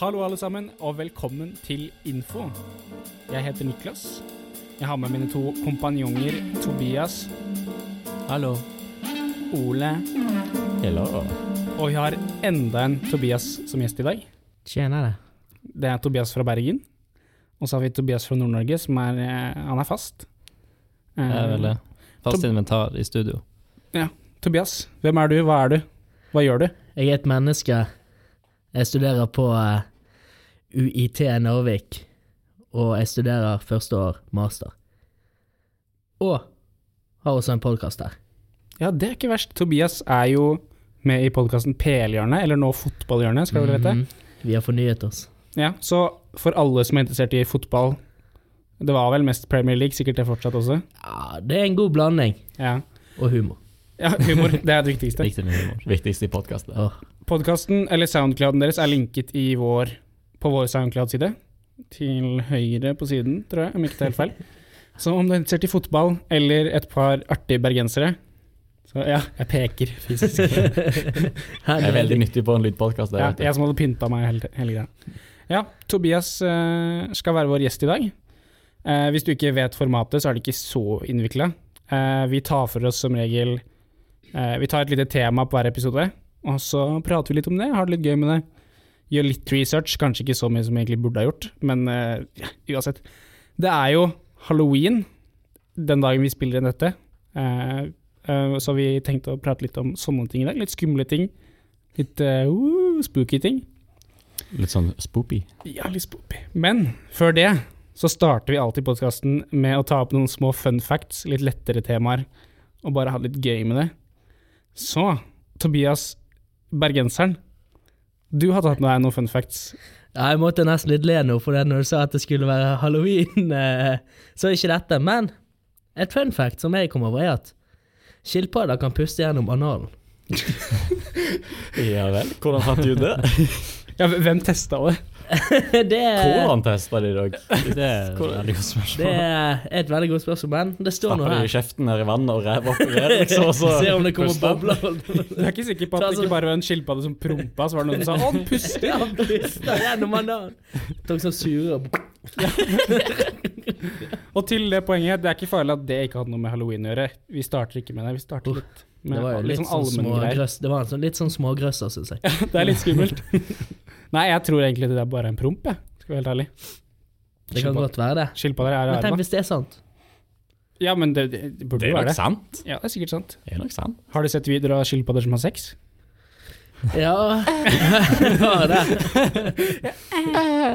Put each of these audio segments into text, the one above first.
Hallo, alle sammen, og velkommen til Info. Jeg heter Niklas. Jeg har med mine to kompanjonger Tobias, Hallo. Ole, Hello. og vi har enda en Tobias som gjest i dag. Tjener det. Det er Tobias fra Bergen. Og så har vi Tobias fra Nord-Norge, som er eh, Han er fast. Eh, Jeg er vel det. Fast inventar i studio. Tobias, hvem er du, hva er du, hva gjør du? Jeg er et menneske. Jeg studerer på eh, UiT Narvik, og jeg studerer første år master. Og har også en podkast der. Ja, det er ikke verst. Tobias er jo med i podkasten Pelhjørnet, eller nå Fotballhjørnet, skal vi vel hete. Mhm. Vi har fornyet oss. Ja, så for alle som er interessert i fotball Det var vel mest Premier League, sikkert det fortsatt også. Ja, det er en god blanding. Ja, Og humor. ja humor. Det er det viktigste. Riktig med humor. Viktigste i podkasten. Åh, Podkasten, eller soundclouden deres, er linket i vår, på vår soundcloud-side. Til høyre på siden, tror jeg, om ikke det er helt feil. Så om du er interessert i fotball eller et par artige bergensere Så ja, jeg peker fysisk. her Det er veldig det. nyttig på en lydpodkast. Ja, jeg som hadde pynta meg hele, hele greia. Ja, Tobias eh, skal være vår gjest i dag. Eh, hvis du ikke vet formatet, så er det ikke så innvikla. vi tar for oss som regel eh, Vi tar et lite tema på hver episode, og så prater vi litt om det. Har det litt gøy med det. Gjør litt research, kanskje ikke så mye som jeg egentlig burde ha gjort, men eh, ja, uansett. Det er jo halloween den dagen vi spiller inn dette, Eh, eh, så vi tenkte å prate litt om sånne ting i dag. Litt skumle ting. Litt eh, uh, spooky ting. Litt sånn spoopy. Ja, litt spooky. Men før det så starter vi alltid podkasten med å ta opp noen små fun facts, litt lettere temaer, og bare ha det litt gøy med det. Så, Tobias bergenseren, du har tatt med deg noen fun facts. Ja, jeg måtte nesten litt le nå, for det når du sa at det skulle være halloween, eh, så er ikke dette. Men et fun fact som jeg kom over, er at skilpadder kan puste gjennom analen. Ja vel. Hvordan fant du ut det? Ja, hv- hvem testa det? det er Hvordan testa de deg? Det er et veldig godt Det spørsmål. er et veldig godt spørsmål, men det står noe Stappa de i her. kjeften ned i vannet og rev opp og rev, liksom? Og så Se om det kommer Pusta. bobler. Du er ikke sikker på at det ikke bare var en skilpadde som prompa, så var det noen som sa 'Å, den puster'? Ja, han puster gjennom analen. Tok sånn sure og Og til det poenget, det er ikke farlig at det ikke hadde noe med halloween å gjøre. Vi starter ikke med det. Vi starter litt med Det var jo litt litt sånn sånn allmenngreier. smågrøss. Det var en sånn, litt sånn smågrøsser, syns jeg. Det er litt skummelt. Nei, jeg tror egentlig det er bare en promp, jeg. Skal være helt ærlig. Det kan godt være det. Skilpadder er Men tenk rare. da. hvis det er sant. Ja, men det, det det burde Det jo er være nok det. sant. Ja, det er sikkert sant. Det er nok sant. Har du sett videoer av skilpadder som har sex? Ja, det var det.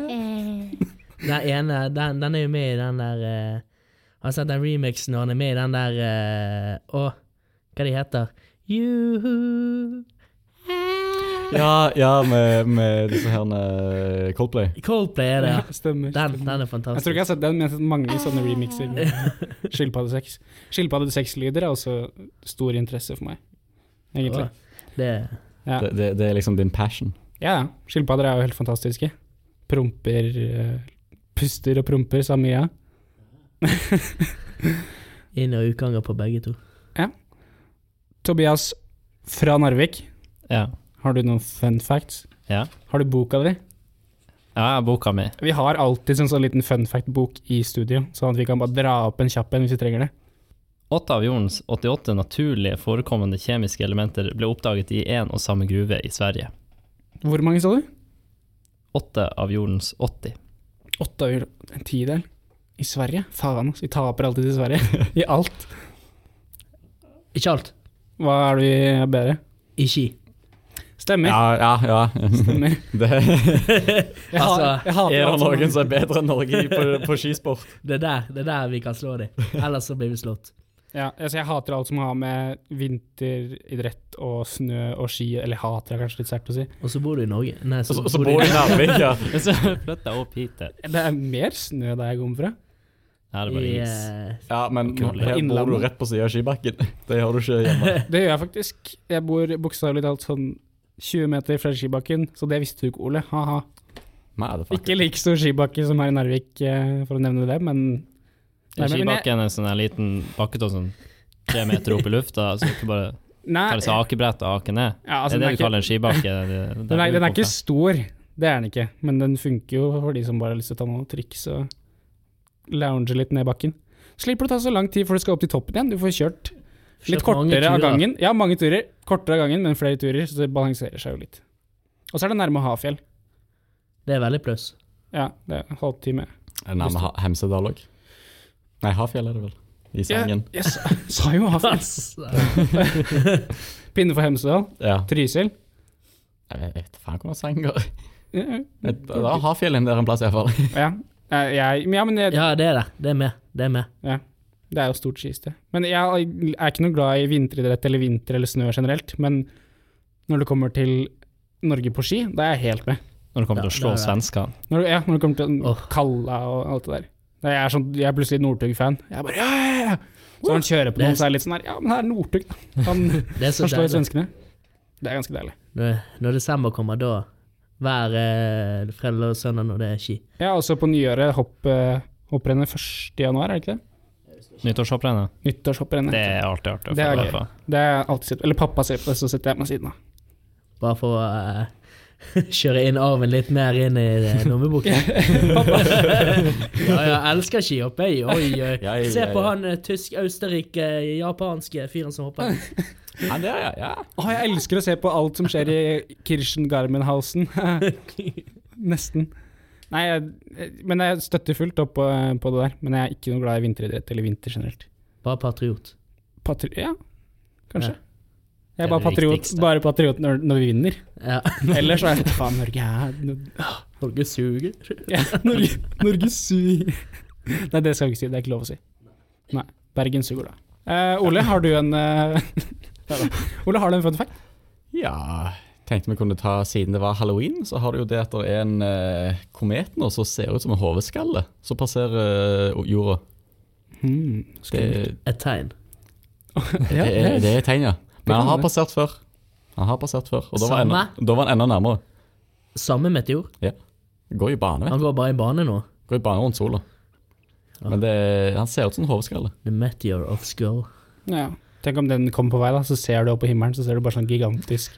Den ene, eh, den, den er jo med i den der eh, Har du sett den remixen når han er med i den der eh, Å, hva de heter? Juhu Ja, ja med, med disse her eh, Coldplay. Coldplay er det, ja. Stemmer. Den, den er Jeg tror fantastisk. ikke jeg har sett den, men jeg har sett mange sånne remixer med skilpaddesex. Skilpaddesex-lyder er også stor interesse for meg, egentlig. Det, Ja, Det, det, det er liksom din passion. ja. ja. Skilpadder er jo helt fantastiske. Promper eh, Puster og promper, sa Mia. inn- og utganger på begge to. Tobias fra Narvik, Ja. har du noen fun facts? Ja. Har du boka di? ja, boka mi. Vi har alltid en sånn liten fun fact-bok i studio, sånn at vi kan bare dra opp en kjapp en hvis vi trenger det. Åtte av jordens 88 naturlig forekommende kjemiske elementer ble oppdaget i én og samme gruve i Sverige. Hvor mange sa du? Åtte av jordens 80. Åtte av en tidel. I Sverige? Faen, altså. Vi taper alltid til Sverige. I alt. Ikke alt. Hva er det vi er bedre? I Ski. Stemmer. Ja, ja. ja. Stemmer. Det, Jeg, har, Altså, jeg hater er det alt som- noen som er bedre enn Norge i- på, på skisport? Det er der, det er der vi kan slå dem. Ellers så blir vi slått. Ja, altså jeg hater alt som har med vinteridrett og snø og ski Eller hater er kanskje litt sterkt å si. Og så bor du i Norge. Nei, Og så, så, og så bor bor du du i Narvik, ja. Men så flytta jeg opp hit. til- Det er mer snø der jeg kommer fra. Her er det i, bare is. eh, Ja, men Cool. her bor du rett på sida av skibakken. Det har du ikke hjemme. Det gjør jeg faktisk. Jeg bor bokstavelig talt sånn 20 meter fra skibakken, så det visste du ikke, Ole. Ha-ha. Motherfucker. Ikke like stor skibakke som her i Narvik, eh, for å nevne det, men Nei, men- men jeg- Skibakken er en sånn her liten bakketå sånn tre meter opp i lufta, så du bare Nei, tar deg akebrett og aker ned. ja, altså, det den, er er det du ikke, kaller en skibakke? Det, det, den, er, den er ikke stor. Det er den ikke, men den funker jo for de som bare har lyst til å ta noen triks og lounge litt ned bakken. Slipper å ta så lang tid før du skal opp til toppen igjen. Du får kjørt litt Kjørt mange kortere av turer. gangen. Ja, mange turer. Kortere av gangen, men flere turer, så det balanserer seg jo litt. Og så er det nærme Hafjell. Det er veldig pluss. Ja, det er en halvtime. Er det nærme Ha- Hemsedal òg? Nei, Hafjell er det vel. I Sengen. Jeg sa, sa jo Hafjell. Pinne for Hemsedal. Ja. Trysil. Jeg vet faen hvor Sengen går. Ja, Det det er Hafjell inn der en plass, iallfall. Ja, Eh, jeg, ja men jeg, Ja, det er det. Det er med. Det er med. det er jo stort skiste. Men jeg er ikke noe glad i vinteridrett eller vinter eller snø generelt, men når det kommer til Norge på ski, da er jeg helt med. Når det kommer Ja, til å det slå er det. svenskene. Når, det- ja, når det kommer til Åh. Kalla og alt det der. Da Jeg er, sånn, jeg er plutselig Northug-fan. Jeg bare ja, ja, ja! Så når han kjører på noen, så er jeg litt sånn her Ja, men det er Northug, da. Han, Det er så han slår deilig. svenskene. Det er ganske deilig. Når, når desember kommer, da hver eh, fredag og søndag når det er ski. Ja, også på nyåret hopp, eh, hopprennet 1. januar, er det ikke det? Nyttårshopprennet, Nyttårshopprennet. det er alltid artig. å Det er få gøy. være på. Det er alltid sett. Eller pappa ser på det, så sitter jeg på siden av. Bare for å eh, kjøre inn arven litt mer inn i eh, lommeboken. ja, jeg elsker skihopp, jeg. Oi, oi. Ja, ja, Se på ja. han eh, tysk, austerrike, japanske fyren som hopper. Ja, det er, ja. Å, jeg elsker å se på alt som skjer i Kirchen-Garmenhausen. Nesten. Nei, jeg, men jeg støtter fullt opp på, på det der. Men jeg er ikke noe glad i vinteridrett eller vinter generelt. Bare patriot. Patri ja, kanskje. Ja. Jeg er Det er bare det patriot, viktigste. bare patriot når, når vi vinner. Ja. Ellers så er det faen Norge er Norge suger. ja, Norge, Norge suger. Nei, det skal vi ikke si. Det er ikke lov å si. Nei. Bergen suger, da. Eh, Ole, har du en eh, Ole, har du en fun fact? Ja, tenkte vi kunne ta siden det var halloween, så har du jo det at det er en eh, komet nå som ser ut som en hodeskalle som passerer eh, jorda. Det, Skummelt. Et tegn. Ja, det, er, det er et tegn, ja. Men kan han har det. passert før. Han har passert før, og da var, enda, Samme? da var han enda nærmere. Samme meteor. Går i bane, vet du. Han går bare i bane nå. Går i bane rundt sola. Men det, han ser ut som en hodeskalle. The meteor of skull. Ja. Tenk om den kommer på vei, da, så ser du opp på himmelen, så ser du bare sånn gigantisk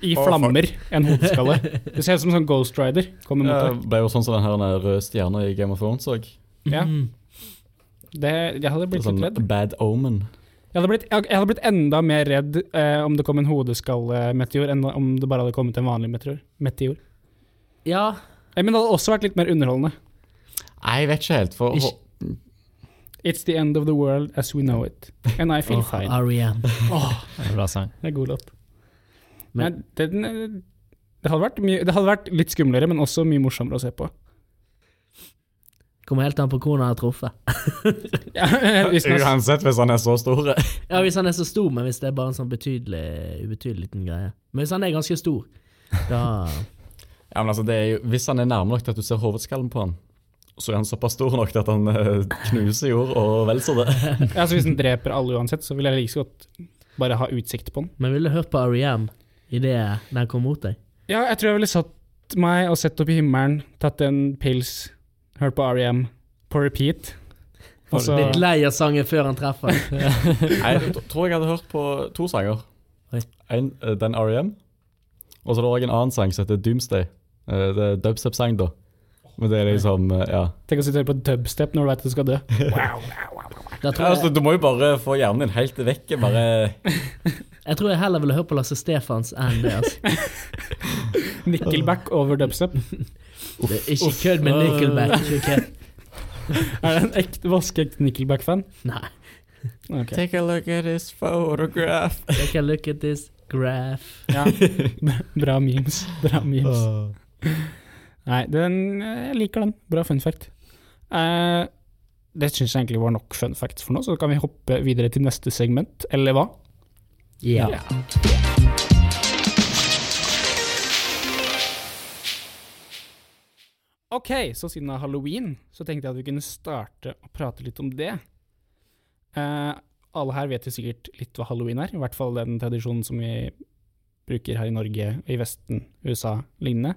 I Å, flammer, en hodeskalle. Det ser ut som en sånn Ghost Rider kommer mot Det deg. ble jo sånn som den her den røde stjerna i Game of Thrones òg. Ja. Mm. Det, jeg hadde blitt Sånn litt redd. bad omen. Jeg hadde blitt, jeg, jeg hadde blitt enda mer redd eh, om det kom en hodeskallemeteor enn om det bare hadde kommet en vanlig meteor. meteor. Ja, Eh, Men det hadde også vært litt mer underholdende. Nei, jeg vet ikke helt, for Ikke- It's the end of the world as we know it. And I feel Åh, E fine. R.E.M. Det er en Bra sang. Det er god låt. Men- Men den, eh, det, hadde vært mye, det hadde vært litt skumlere, men også mye morsommere å se på. Kommer helt an på hvor han har truffet. Ja, hvis den er- Uansett, hvis han er så stor Ja, Hvis han er så stor, men hvis det er bare en sånn betydelig, ubetydelig liten greie. Men hvis han er ganske stor, da Ja, men altså, det er jo, Hvis han er nærme nok til at du ser hovedskallen på han, så er han såpass stor nok til at han eh, knuser jord og vel så det. Ja, så Hvis den dreper alle uansett, så vil jeg like så godt bare ha utsikt på den. Men ville du hørt på E R.E.M. idet den kom mot deg? Ja, jeg tror jeg ville satt meg og sett opp i himmelen, tatt en pils, hørt på REM på repeat. Og så Litt lei av sangen før han treffer. Jeg t- tror jeg hadde hørt på to sanger. Oi. En, eh, den R.E.M., og så er det også en annen sang som heter Doomsday. Eh, det er dubstep-sang, da. Men det er liksom eh, Ja. tenk å sitte og høre på dubstep når du veit du skal dø. Da ja tror altså, jeg, du må jo bare få hjernen din helt vekk. Bare jeg tror jeg heller ville hørt på Lasse Stefans enn det. altså. Nickelback over dubstep. Det er ikke kødd med Nickelback. ok? Er det en ekte vaskeekte Nickelback-fan? Nei. Ok. Take a look at this photograph. Take a look at this graph. Ja. Bra memes. Bra memes. Nei, den, jeg liker den. Bra fun fact. Eh, det syns jeg egentlig var nok fun facts for nå, så kan vi hoppe videre til neste segment, eller hva? Ja. Ok, så siden det er halloween, så tenkte jeg at vi kunne starte å prate litt om det. Eh, alle her vet jo sikkert litt hva halloween er, i hvert fall den tradisjonen som vi bruker her i Norge, i Vesten, USA, lignende.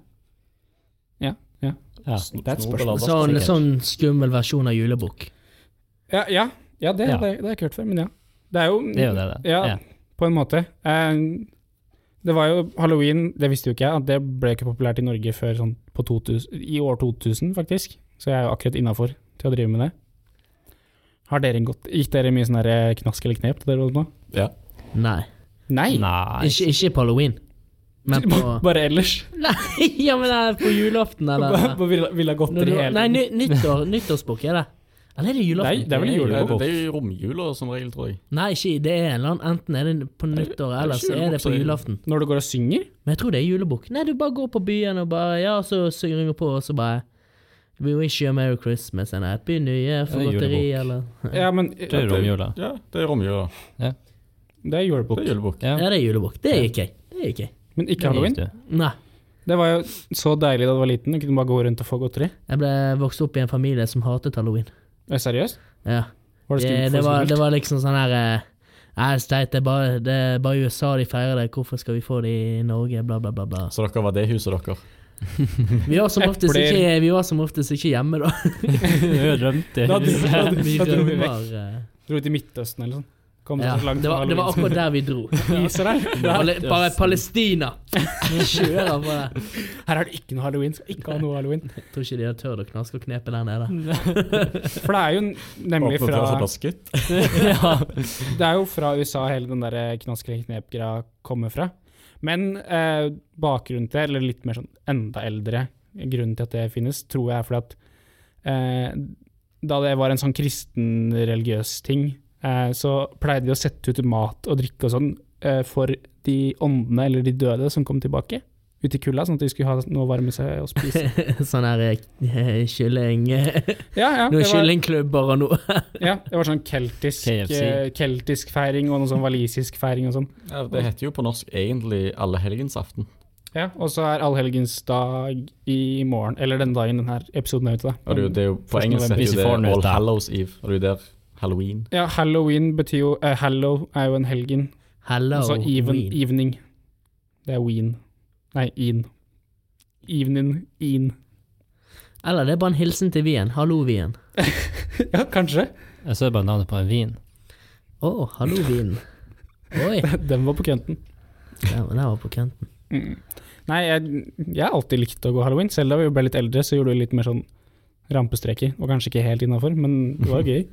Ja, ja. Ja. Det er et spørsmål. Sånn, sånn skummel versjon av julebukk. Ja, ja, ja, det, Ja. Det, det har jeg ikke hørt før, men ja. Det er jo, Det er jo det, det. Ja, Ja. på en måte. Eh, Det var jo halloween, det visste jo ikke jeg, at det ble ikke populært i Norge før sånn på 2000, i år 2000, faktisk. Så jeg er jo akkurat innafor til å drive med det. Har dere gått, Gikk dere mye sånn der knask eller knep til dere holdt på? Ja. Nei. Nei! Nei. Ikke, ikke på halloween. Men på Bare ellers. Nei, ja, men eh, på julaften, eller? Bare ville, ville ha gått Når dere du, hele nei, ny, nyttår, nyttårsbukk er det. Eller er det julaften? Nei, det er vel Nei, jul. Det, Julebukk. det er jo romjula som regel, tror jeg. Nei, ikke, det er en eller annen. Enten er det på nyttår, eller så er det på julaften. Når du går og synger? Men jeg tror det er julebukk. Nei, du bare går på byen og bare Ja, så synger du på, og så bare We wish you a merry Christmas and a happy new year for Det er godteri, julebukk. eller Ja, men Det er romjula. Ja, det er romjula. det er Det julebukk. er julebukk. Ja. Ja, det er julebukk. Det gikk jeg. Det gikk jeg. Men ikke halloween. Det gikk Nei. Det var jo så deilig da du var liten, du kunne bare gå rundt og få godteri. Jeg ble vokst opp i en familie som hatet halloween. Er det Seriøst? Ja. Var det, Det, skummelt det, var, for det var liksom sånn her eh, Nei, så teit. Det er bare, det er bare i USA de feirer det. Hvorfor skal vi få det i Norge? Bla, bla, bla. bla. Så dere var det huset dere. Vi var som oftest Epler. ikke, vi var som oftest ikke hjemme, da. Jeg rømte. Da hadde- da hadde- Vi da dro vi vekk. var, eh, Dro til Midtøsten eller sånn. Kom ja. så langt det, var, det var akkurat der vi dro. Israel. Pal bare Palestina! Vi Kjører på det. Her er det ikke noe halloween. Skal ikke ha noe halloween. Jeg tror ikke de har tørt å knaske og knepe der nede. Mm. For det er jo nemlig Åpnet altså, døra så fra, ble skutt. ja. det er jo fra USA hele den der knask-knep-greia kommer fra. Men eh, bakgrunnen til, eller litt mer sånn enda eldre grunnen til at det finnes, tror jeg er fordi at eh, da det var en sånn kristen religiøs ting, eh, så pleide de å sette ut mat og drikke og sånn eh, for de åndene eller de døde som kom tilbake ut i kulda, sånn at de skulle ha noe å varme seg og spise. Sånn her eh, kylling... Ja, ja, det Noen var- kyllingklubber og noe. Ja, det var sånn keltisk, KFC. eh, keltisk feiring og noe sånn walisisk feiring og sånn. Ja, det heter jo på norsk egentlig allehelgensaften. Ja, og så er allhelgensdag i morgen, eller den dagen denne episoden er ute. da. Og det, er jo- det er jo, på Første engelsk november. heter Hvis vi jo det får den ut, All da. Hallows Eve, og det er jo der halloween. Ja, halloween betyr jo eh, Hallow er jo en helgen, Hello, og så Altså, even, Wien. evening. Det er ween. Nei, in. Evening, in. Eller det er bare en hilsen til Wien. Hallo, Wien. Ja, kanskje. Jeg så bare navnet på en vin. Å, hallo, Wien. Oi, Den var på kønten. den den var på kanten. Mm. Nei, jeg, jeg har alltid likt å gå halloween. Selv da vi ble litt eldre, så gjorde vi litt mer sånn rampestreker. Og kanskje ikke helt innafor, men det var gøy.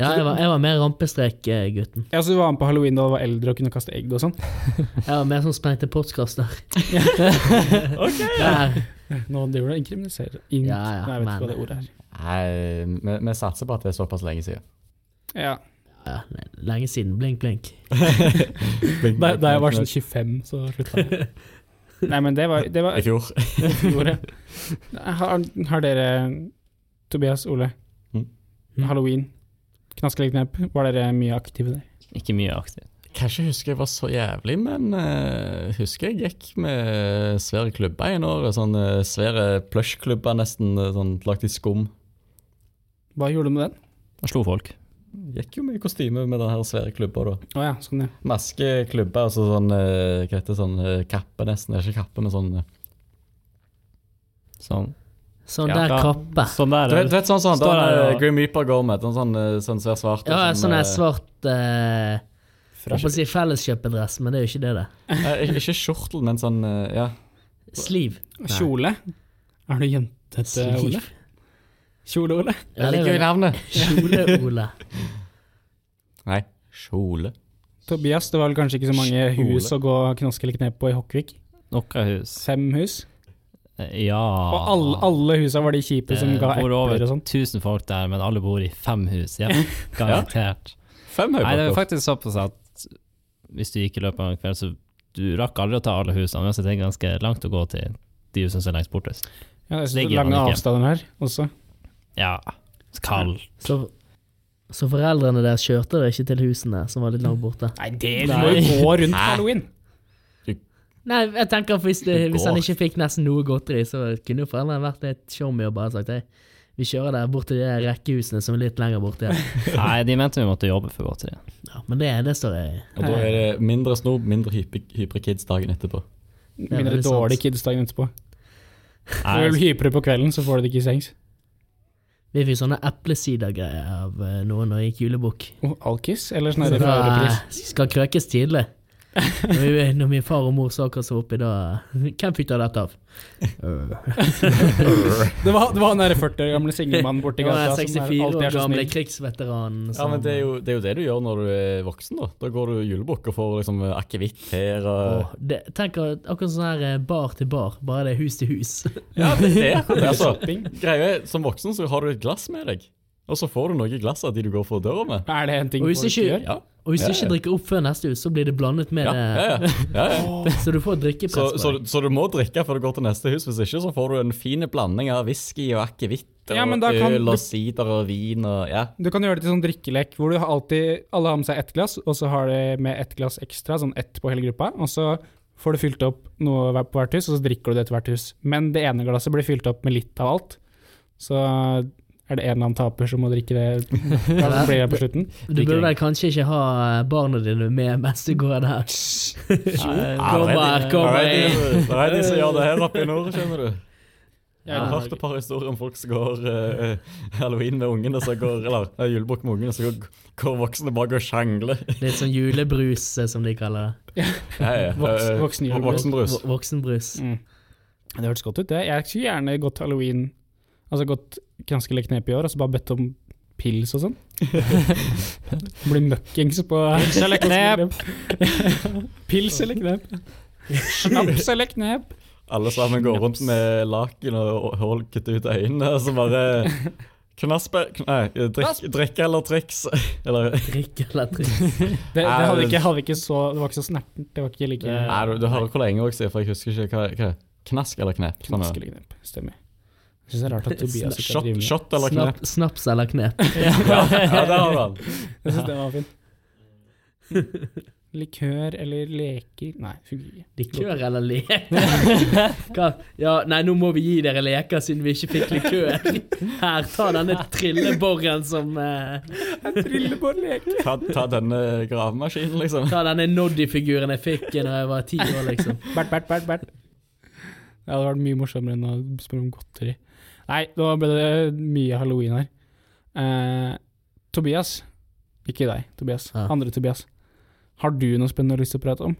Ja, jeg var, jeg var mer rampestrek-gutten. Ja, så du var med på halloween da du var eldre og kunne kaste egg og sånn? Jeg var mer sånn sprengte postkaster. Der. Nå driver du og inkriminiserer ink- Ja, ja, Nei, jeg vet men- ikke hva det ordet er. Nei, vi, vi satser på at det er såpass lenge siden. eh, Ja. Ja, nei, lenge siden. Blink, blink. Da, da jeg var sånn 25, så slutta jeg. Nei, men det var, det var I fjor. ordet. Har, har dere, Tobias, Ole, Mm. halloween, knaskeleknep, var dere mye aktive der? Ikke mye aktiv. Kanskje jeg husker jeg var så jævlig, men eh, husker jeg gikk med svære klubber en år. Sånne svære plush-klubber nesten, eh, sånn lagt i skum. Hva gjorde du med den? Jeg slo folk. Gikk jo med kostyme med den her svære klubba da. Å ja, sånn ja. Maske, klubber, altså sånn, eh, hva heter det, sånn eh, kappe nesten, det er ikke kappe, men sånn... eh, Sånn. Sånn Ja, der da- kappe. Sånn Du der. vet, du vet sånn sånn, Står den der, eh, ja. Grim Reaper går med, den sånn, eh, sånn svær svart. Ja, sånn der eh, svart eh, Jeg holdt på Fra- å si felleskjøpedress, men det er jo ikke det, det. eh, Ikke skjortel, men sånn, eh, ja. Sliv. Kjole? Er du jentete, Sliv. Ole? Kjole, Ole? Ja, det er vel navnet. Kjole-Ole. Nei, kjole. Tobias, det var vel kanskje ikke så mange Kjole. hus å gå knaskeleknep på i Hokkvik? Nokkahus. Fem hus? Ja. Eh, Og alle, alle husa var de kjipe som ga bor epler over og sånn? 1000 folk der, men alle bor i fem hus. Ja, garantert. Fem Nei, det er høybakker. faktisk såpass at hvis du gikk i løpet av en kveld, så du rakk aldri å ta alle husene. Uansett, det er ganske langt å gå til de husene som er lengst borte. Ja, det er så Ligger han lange ikke? avstander her også. Ja, kald. Så, så foreldrene deres kjørte dere ikke til husene som var litt langt borte? Nei, det du må jo gå rundt Hæ? halloween. Nei, jeg tenker at hvis, det, Det hvis han går. ikke fikk nesten noe godteri, så kunne jo foreldrene vært litt showmy og bare sagt hei, vi kjører der bort til de der rekkehusene som er litt lenger borte. igjen». Nei, de mente vi måtte jobbe for godteri. Ja, men det, det står jeg Og da er det mindre snob, mindre hype- hypre kids dagen etterpå. er Mindre veldig dårlig sant. kidsdagen etterpå. Når du Nei, hyper på kvelden, så får du det ikke i sengs. Vi fikk sånne eplesidergreier av eh, noen når jeg gikk julebukk. Og Oh, alkis, eller sånn Så her da rødrepris. skal krøkes tidlig. Når, vi, når min far og mor så hva som var oppi da Hvem fikk da dette av? Det var, det var han der 40 år gamle singelmannen borti Det var gata den som er, 64 alltid år er så gamle snill. krigsveteranen Ja, men det er, jo, det er jo det du gjør når du er voksen. Da Da går du julebukk og får liksom akevitt her. Og... Åh, det, tenk at- akkurat sånn her eh, bar til bar, bare det er hus til hus. Ja, det, det er akkurat det. Altså, Shopping. greia er, som voksen så har du et glass med deg, og så får du noe i glasset av de du går for døra med. Er det en ting Og folk hvis ikke ikke- gjør? Ja, Og hvis du Ja, ikke ja. drikker opp før neste hus, så blir det blandet med eh, ja, ja, ja, ja, ja. det. Så du får Så, drikkepress. på så, deg. så du må drikke før du går til neste hus. Hvis ikke så får du en fin blanding av whisky og akevitt og Ja, men da kan øl og du- sider og vin og ja. Du kan gjøre det til sånn drikkelek hvor du har alltid, alle har med seg ett glass, og så har de med ett glass ekstra, sånn ett på hele gruppa. Og så får du fylt opp noe hver- på hvert hus, og så drikker du det til hvert hus. Men det ene glasset blir fylt opp med litt av alt. Så er det en eller annen taper som må drikke det, da blir det på slutten. Du burde vel kanskje ikke ha eh, barna dine med mens du går der. Eh, Kom her, kom Ah, Det her. er de- det er de som gjør det her oppe i nord, skjønner du. Jeg Ja. har hørt et par historier om folk som går eh, halloween med ungene, så går, eller eh, julebukk med ungene, så går, går voksne bak og sjangler. Litt sånn julebrus, eh, som de kaller det. Ja, ja. Voks- Eh, voksen og julebrus. Voksenbrus. Vo- Voksenbrus. Mm. Det hørtes godt ut, det. Jeg skulle gjerne gått halloween, altså gått ganske litt knep i år, og så bare bedt om pils og sånn. Bli møkkings på Pils eller knep! Pils eller knep. Snaps eller knep. Alle sammen går rundt med laken og hull kutter ut øynene, og så bare Knaspe kn- Nei, drikk, drikk eller triks. Eller Drikk eller drikk. Det, det, hadde ikke, hadde ikke så, det var ikke så snertent. Det var ikke like Nei, du, du hører hvor lenge òg, sier, for jeg husker ikke hva, hva Knask eller knep? Sånn, knask ja. eller knep. Stemmer. Jeg syns det er rart at Tobias ikke Shot, driver med det. shot eller knep? Snap, snaps eller knep. Ja, ja, der har du den. Jeg synes det var fint. Likør eller leker Nei, fungerer ikke. Likør eller leker? Hva? Ja, nei, nå må vi gi dere leker siden vi ikke fikk likør. Her, ta denne trilleborren som eh, Trillebår leker. Ta, ta denne gravemaskinen, liksom. Ta denne Noddy-figuren jeg fikk da jeg var ti år, liksom. Bert, Bert, Bert, Bert. Det hadde vært mye morsommere enn å spørre om godteri. Nei, nå ble det mye halloween her. Eh, Tobias, ikke deg, Tobias. Ja. Andre Tobias. Har du noe spennende du har lyst til å prate om?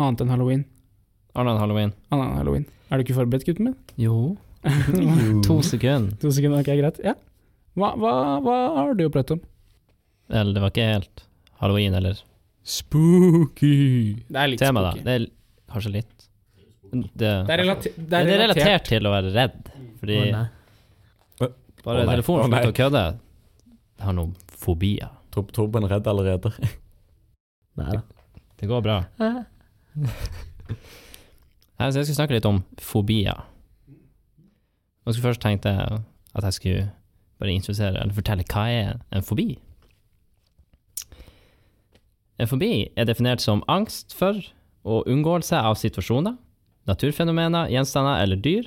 Annet enn halloween? Arnan Halloween. Annet enn halloween. Er du ikke forberedt, gutten min? Jo. to sekunder. To sekunder, ok, greit. Ja. Hva, hva, hva har du å prate om? Eller, det var ikke helt halloween, eller Spooky. Det er litt tema, da. spooky. Det er l- kanskje litt Det, Det er, relate det er Men det er relatert. relatert til å være redd, Å, fordi nei. bare Å, nei. Å, telefonen nei. slutter å kødde. Jeg har noen fobier. Tob Tobben er redd allerede. Nei da. Det går bra. Nei, så Jeg skulle snakke litt om fobier. Og så først tenkte jeg at jeg skulle bare introdusere, eller fortelle, hva er en fobi? En fobi er definert som angst for og unngåelse av situasjoner, naturfenomener, gjenstander eller dyr.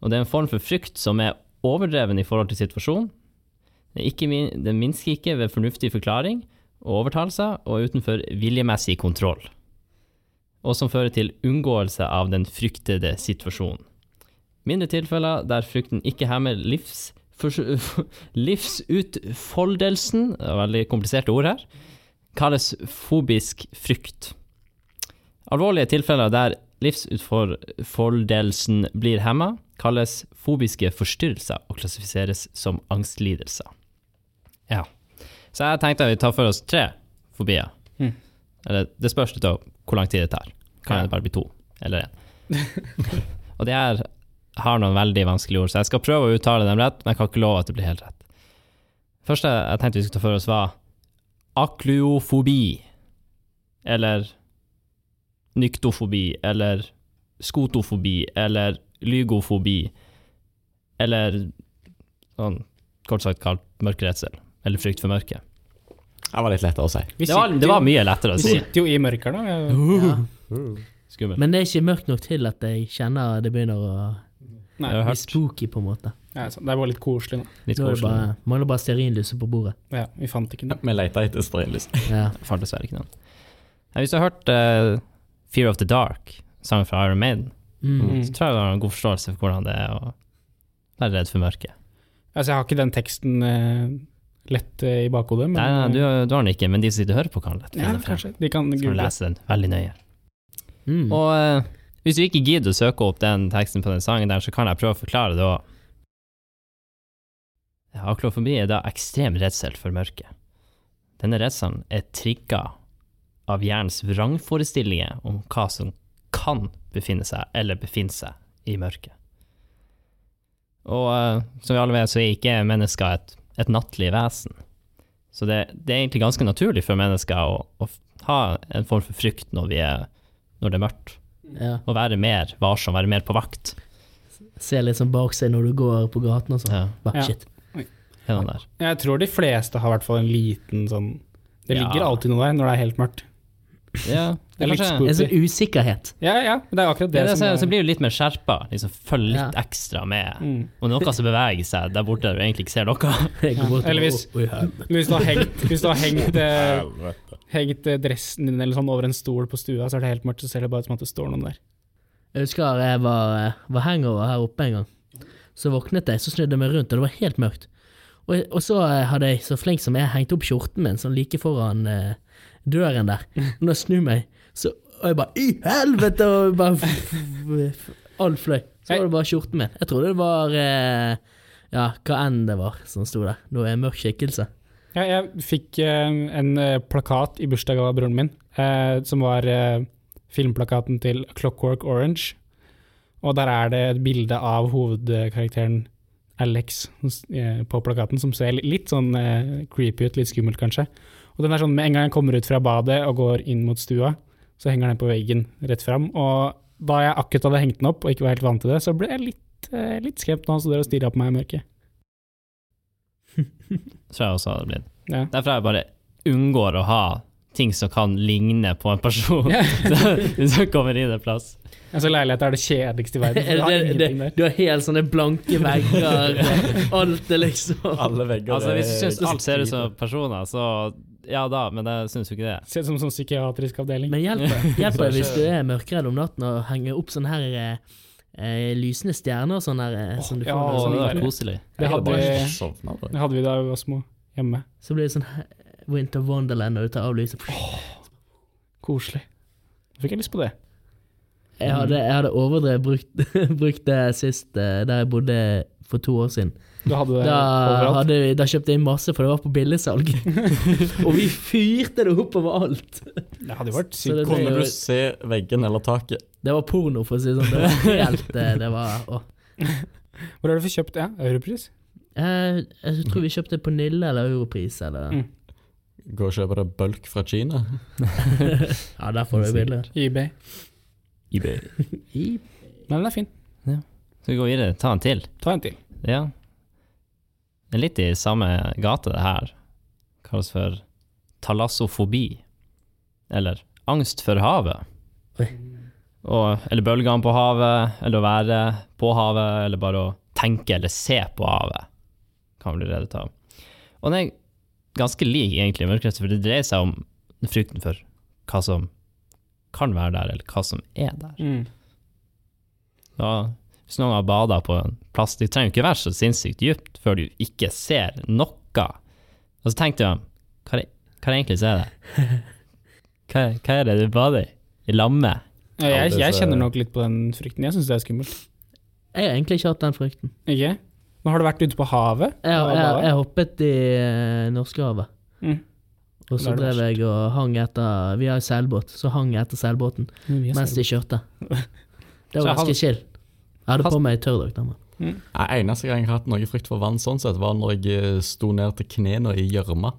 Og det er en form for frykt som er overdreven i forhold til situasjonen. Den, er ikke min- den minsker ikke ved fornuftig forklaring og overtalelser, og utenfor viljemessig kontroll og som fører til unngåelse av den fryktede situasjonen. Mindre tilfeller der frykten ikke hemmer livs, fors- livsutfoldelsen, det er veldig kompliserte ord her, kalles fobisk frykt. Alvorlige tilfeller der livsutfoldelsen blir hemma, kalles fobiske forstyrrelser og klassifiseres som angstlidelser. Ja. Så jeg tenkte vi tar for oss tre fobier. Mm. Eller, det spørs litt av hvor lang tid det tar. Kan det bare bli to, eller én. og det her har noen veldig vanskelige ord, så jeg skal prøve å uttale dem rett, men jeg kan ikke love at det blir helt rett. første jeg tenkte vi skulle ta for oss, var akluofobi. Eller nyktofobi. Eller skotofobi. Eller lygofobi. Eller sånn kort sagt kalt mørkeredsel. Eller frykt for mørket. Det var litt lettere å si. Vi Det var, sitter det var jo- mye lettere å Vi si. Uh. sitter jo i mørket nå. vi er- Ja. Skummelt. Men det er ikke mørkt nok til at jeg kjenner det begynner å Jeg har Nei, bli hørt spooky, på en måte. ja, sånn, det er bare litt koselig nå. litt Nå er det koselig. bare, mangler bare stearinlyset på bordet. Ja, vi fant ikke noe. Vi leter etter stearinlys. Ja. Jeg fant dessverre ikke noen. Nei, Hvis du har hørt eh, Fear of the Dark, sangen fra Iron Maiden, Mm. Mm. så tror jeg du har en god forståelse for hvordan det er å være redd for mørket. Altså, jeg har ikke den teksten eh, lett eh, i bakhodet. Men, Nei, nei, du, du har den ikke, men de som sitter og hører på, kan lett ja, finne den frem. kanskje. De kan Så kan du google. lese den veldig nøye. Mm. Og eh, hvis du ikke gidder å søke opp den teksten på den sangen der, så kan jeg prøve å forklare det òg. Aklofobi er da ekstrem redsel for mørket. Denne redselen er trigga av hjernens vrangforestillinger om hva som kan befinne seg, eller befinner seg, i mørket. Og eh, som vi alle vet, så er ikke mennesker et, et nattlig vesen. Så det, det er egentlig ganske naturlig for mennesker å, å f- ha en form for frykt når vi er når det er mørkt. ja. Å være mer varsom, være mer på vakt. Se litt sånn bak seg når du går på gaten og sånn. Ja, Bare, Ja. Shit. gjennom der. Jeg tror de fleste har i hvert fall en liten sånn Det Ja. ligger alltid noe der når det er helt mørkt. Ja, det er er litt kanskje, spooky. En sånn usikkerhet. Ja, ja, det er akkurat det det, er det, som, så som er, blir du litt mer skjerpa. Liksom, følg litt ekstra med. mm. Og noe som beveger seg der borte der du egentlig ikke ser noe. Jeg går bort og- Eller hvis- Oi, helvete. Men Hvis du har hengt, hvis du har hengt, eh, Helvete. hengt eh, dressen din eller sånn over en stol på stua, så er det helt mørkt, så ser det bare ut som at det står noen der. Jeg husker jeg var, var hangover her oppe en gang. Så våknet jeg, så snudde jeg meg rundt, og det var helt mørkt. Og, og så eh, hadde jeg, så flink som jeg, er, hengt opp skjorten min sånn like foran eh, døren der. Og når jeg snur meg, så Og jeg bare I helvete! Og bare f- f- f- Alt fløy. Så var det bare skjorten min. Jeg trodde det var eh, Ja, hva enn det var som sto der. Nå er jeg en mørk skikkelse. Ja, jeg fikk eh, en eh, plakat i bursdag av broren min, eh, som var eh, filmplakaten til Clockwork Orange. Og der er det et bilde av hovedkarakteren Alex hos- eh, på plakaten, som ser li- litt sånn eh, creepy ut, litt skummelt kanskje. Og den er sånn, med en gang jeg kommer ut fra badet og går inn mot stua, så henger den på veggen rett fram. Og da jeg akkurat hadde hengt den opp og ikke var helt vant til det, så ble jeg litt, eh, litt skremt når han stod der og stirret på meg i mørket. Tror jeg også hadde blitt. Ja. Derfor er jeg bare unngår å ha ting som kan ligne på en person. Ja. Hvis du kommer inn en plass. Altså leiligheter er det kjedeligste i verden. for Er har det, det, ingenting der. du har helt sånne blanke vegger, eh, alt er liksom Alle vegger Altså, hvis du syns er alt ser ut som hvite. personer, så ja da, men jeg syns jo ikke det. Ser ut som en sånn psykiatrisk avdeling. Men hjelper hjelper det hvis du er mørkredd om natten og henger opp sånne her eh, eh, lysende stjerner og sånn her, eh, som du ja, får Å, med og det sånn, var koselig. det, Jeg hadde hadde, bare sovna bare. det hadde vi da vi var små. Hjemme. Så blir det sånn eh, Winter Wonderland når du tar av lyset. Koselig. Da fikk jeg lyst på det. Jeg hadde, mm. jeg hadde overdrevet brukt, brukt det sist eh, der jeg bodde for to år siden. Du hadde det Da, overalt. hadde, vi- da kjøpte jeg inn masse, for det var på billigsalg. og vi fyrte det opp overalt. Det hadde jo vært Så sykt det- koselig. Kunne du se veggen eller taket? Det var porno, for å si det sånn. Det var helt eh, Det var åh. Hvor har du fått kjøpt det? Ja, Europris? Jeg, jeg tror vi kjøpte det på Nille eller Europris eller Mm. Gå og kjøpe deg bulk fra Kina? Ja, der får du billigere. eBay. eBay. Men den er fin. Skal vi gå videre? Ta en til. Ta en til. Ja. Det er litt i samme gate, det her. Kalles for talassofobi. Eller angst for havet. Oi. Og, eller bølgene på havet, eller å være på havet, eller bare å tenke eller se på havet. Kan man bli redd av. Og den er ganske lik egentlig mørkerett, for det dreier seg om frykten for hva som kan være der, eller hva som er der. Mm. Da, hvis noen har bada på en plass, det trenger jo ikke være så sinnssykt dypt før du ikke ser noe. Og så tenkte jeg, hva er det, hva er det egentlig som er det? Hva, hva er det du bader i? I lamme? Ja, Jeg, jeg så- kjenner nok litt på den frykten. Jeg syns det er skummelt. Jeg har egentlig ikke hatt den frykten. Ikke? Men har du vært ute på havet? Jeg, Og jeg, badet? jeg hoppet i eh, Norskehavet. Mm. Og Da så er det drev jeg og hang etter Vi har jo seilbåt, så hang jeg etter seilbåten Men vi er mens de kjørte. Det Så var jeg ganske chill. Jeg hadde Has- på meg tørrdrakt. da, mann. Nei, Eneste gang jeg har hatt noe frykt for vann, sånn sett, var når jeg eh, sto ned til knærne i gjørma.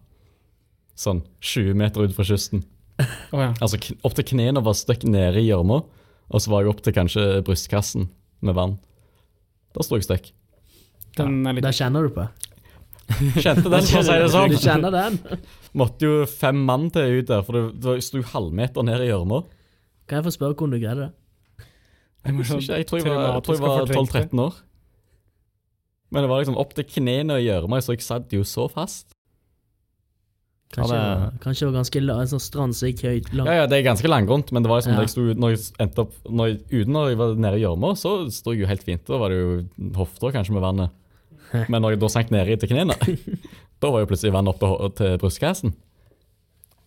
Sånn 20 meter ut fra kysten. Å, ja. Altså kn- opp til knærne var støkk nede i gjørma, og så var jeg opp til kanskje brystkassen med vann. Da sto jeg støkk. Den er litt Der kjenner du på det. Kjente den, for å si det Du sånn. kjenner den? Måtte jo fem mann til ut der, for det- det var- jeg sto halvmeter ned i gjørma. Kan jeg få spørre hvordan du greide det? Det var Jeg, sånn husker ikke, jeg tror jeg var, jeg tror jeg traumatisk og var fortrengt, det. 12-13 år. Men det var liksom opp til knærne i gjørma, så jeg satt jo så fast. Kanskje, Ja, det... det- kanskje det var ganske la, en sånn strand som gikk høyt langt. Ja, ja, det er ganske langgrunt, men det var liksom Ja. da jeg sto ut, når jeg endte opp når jeg, Uten når jeg var nede i gjørma, så sto jeg jo helt fint. Da var det jo hofta kanskje med vannet. Men når jeg da sank ned i til knærne, da var jo plutselig vann opp til, hå- til brystkassen.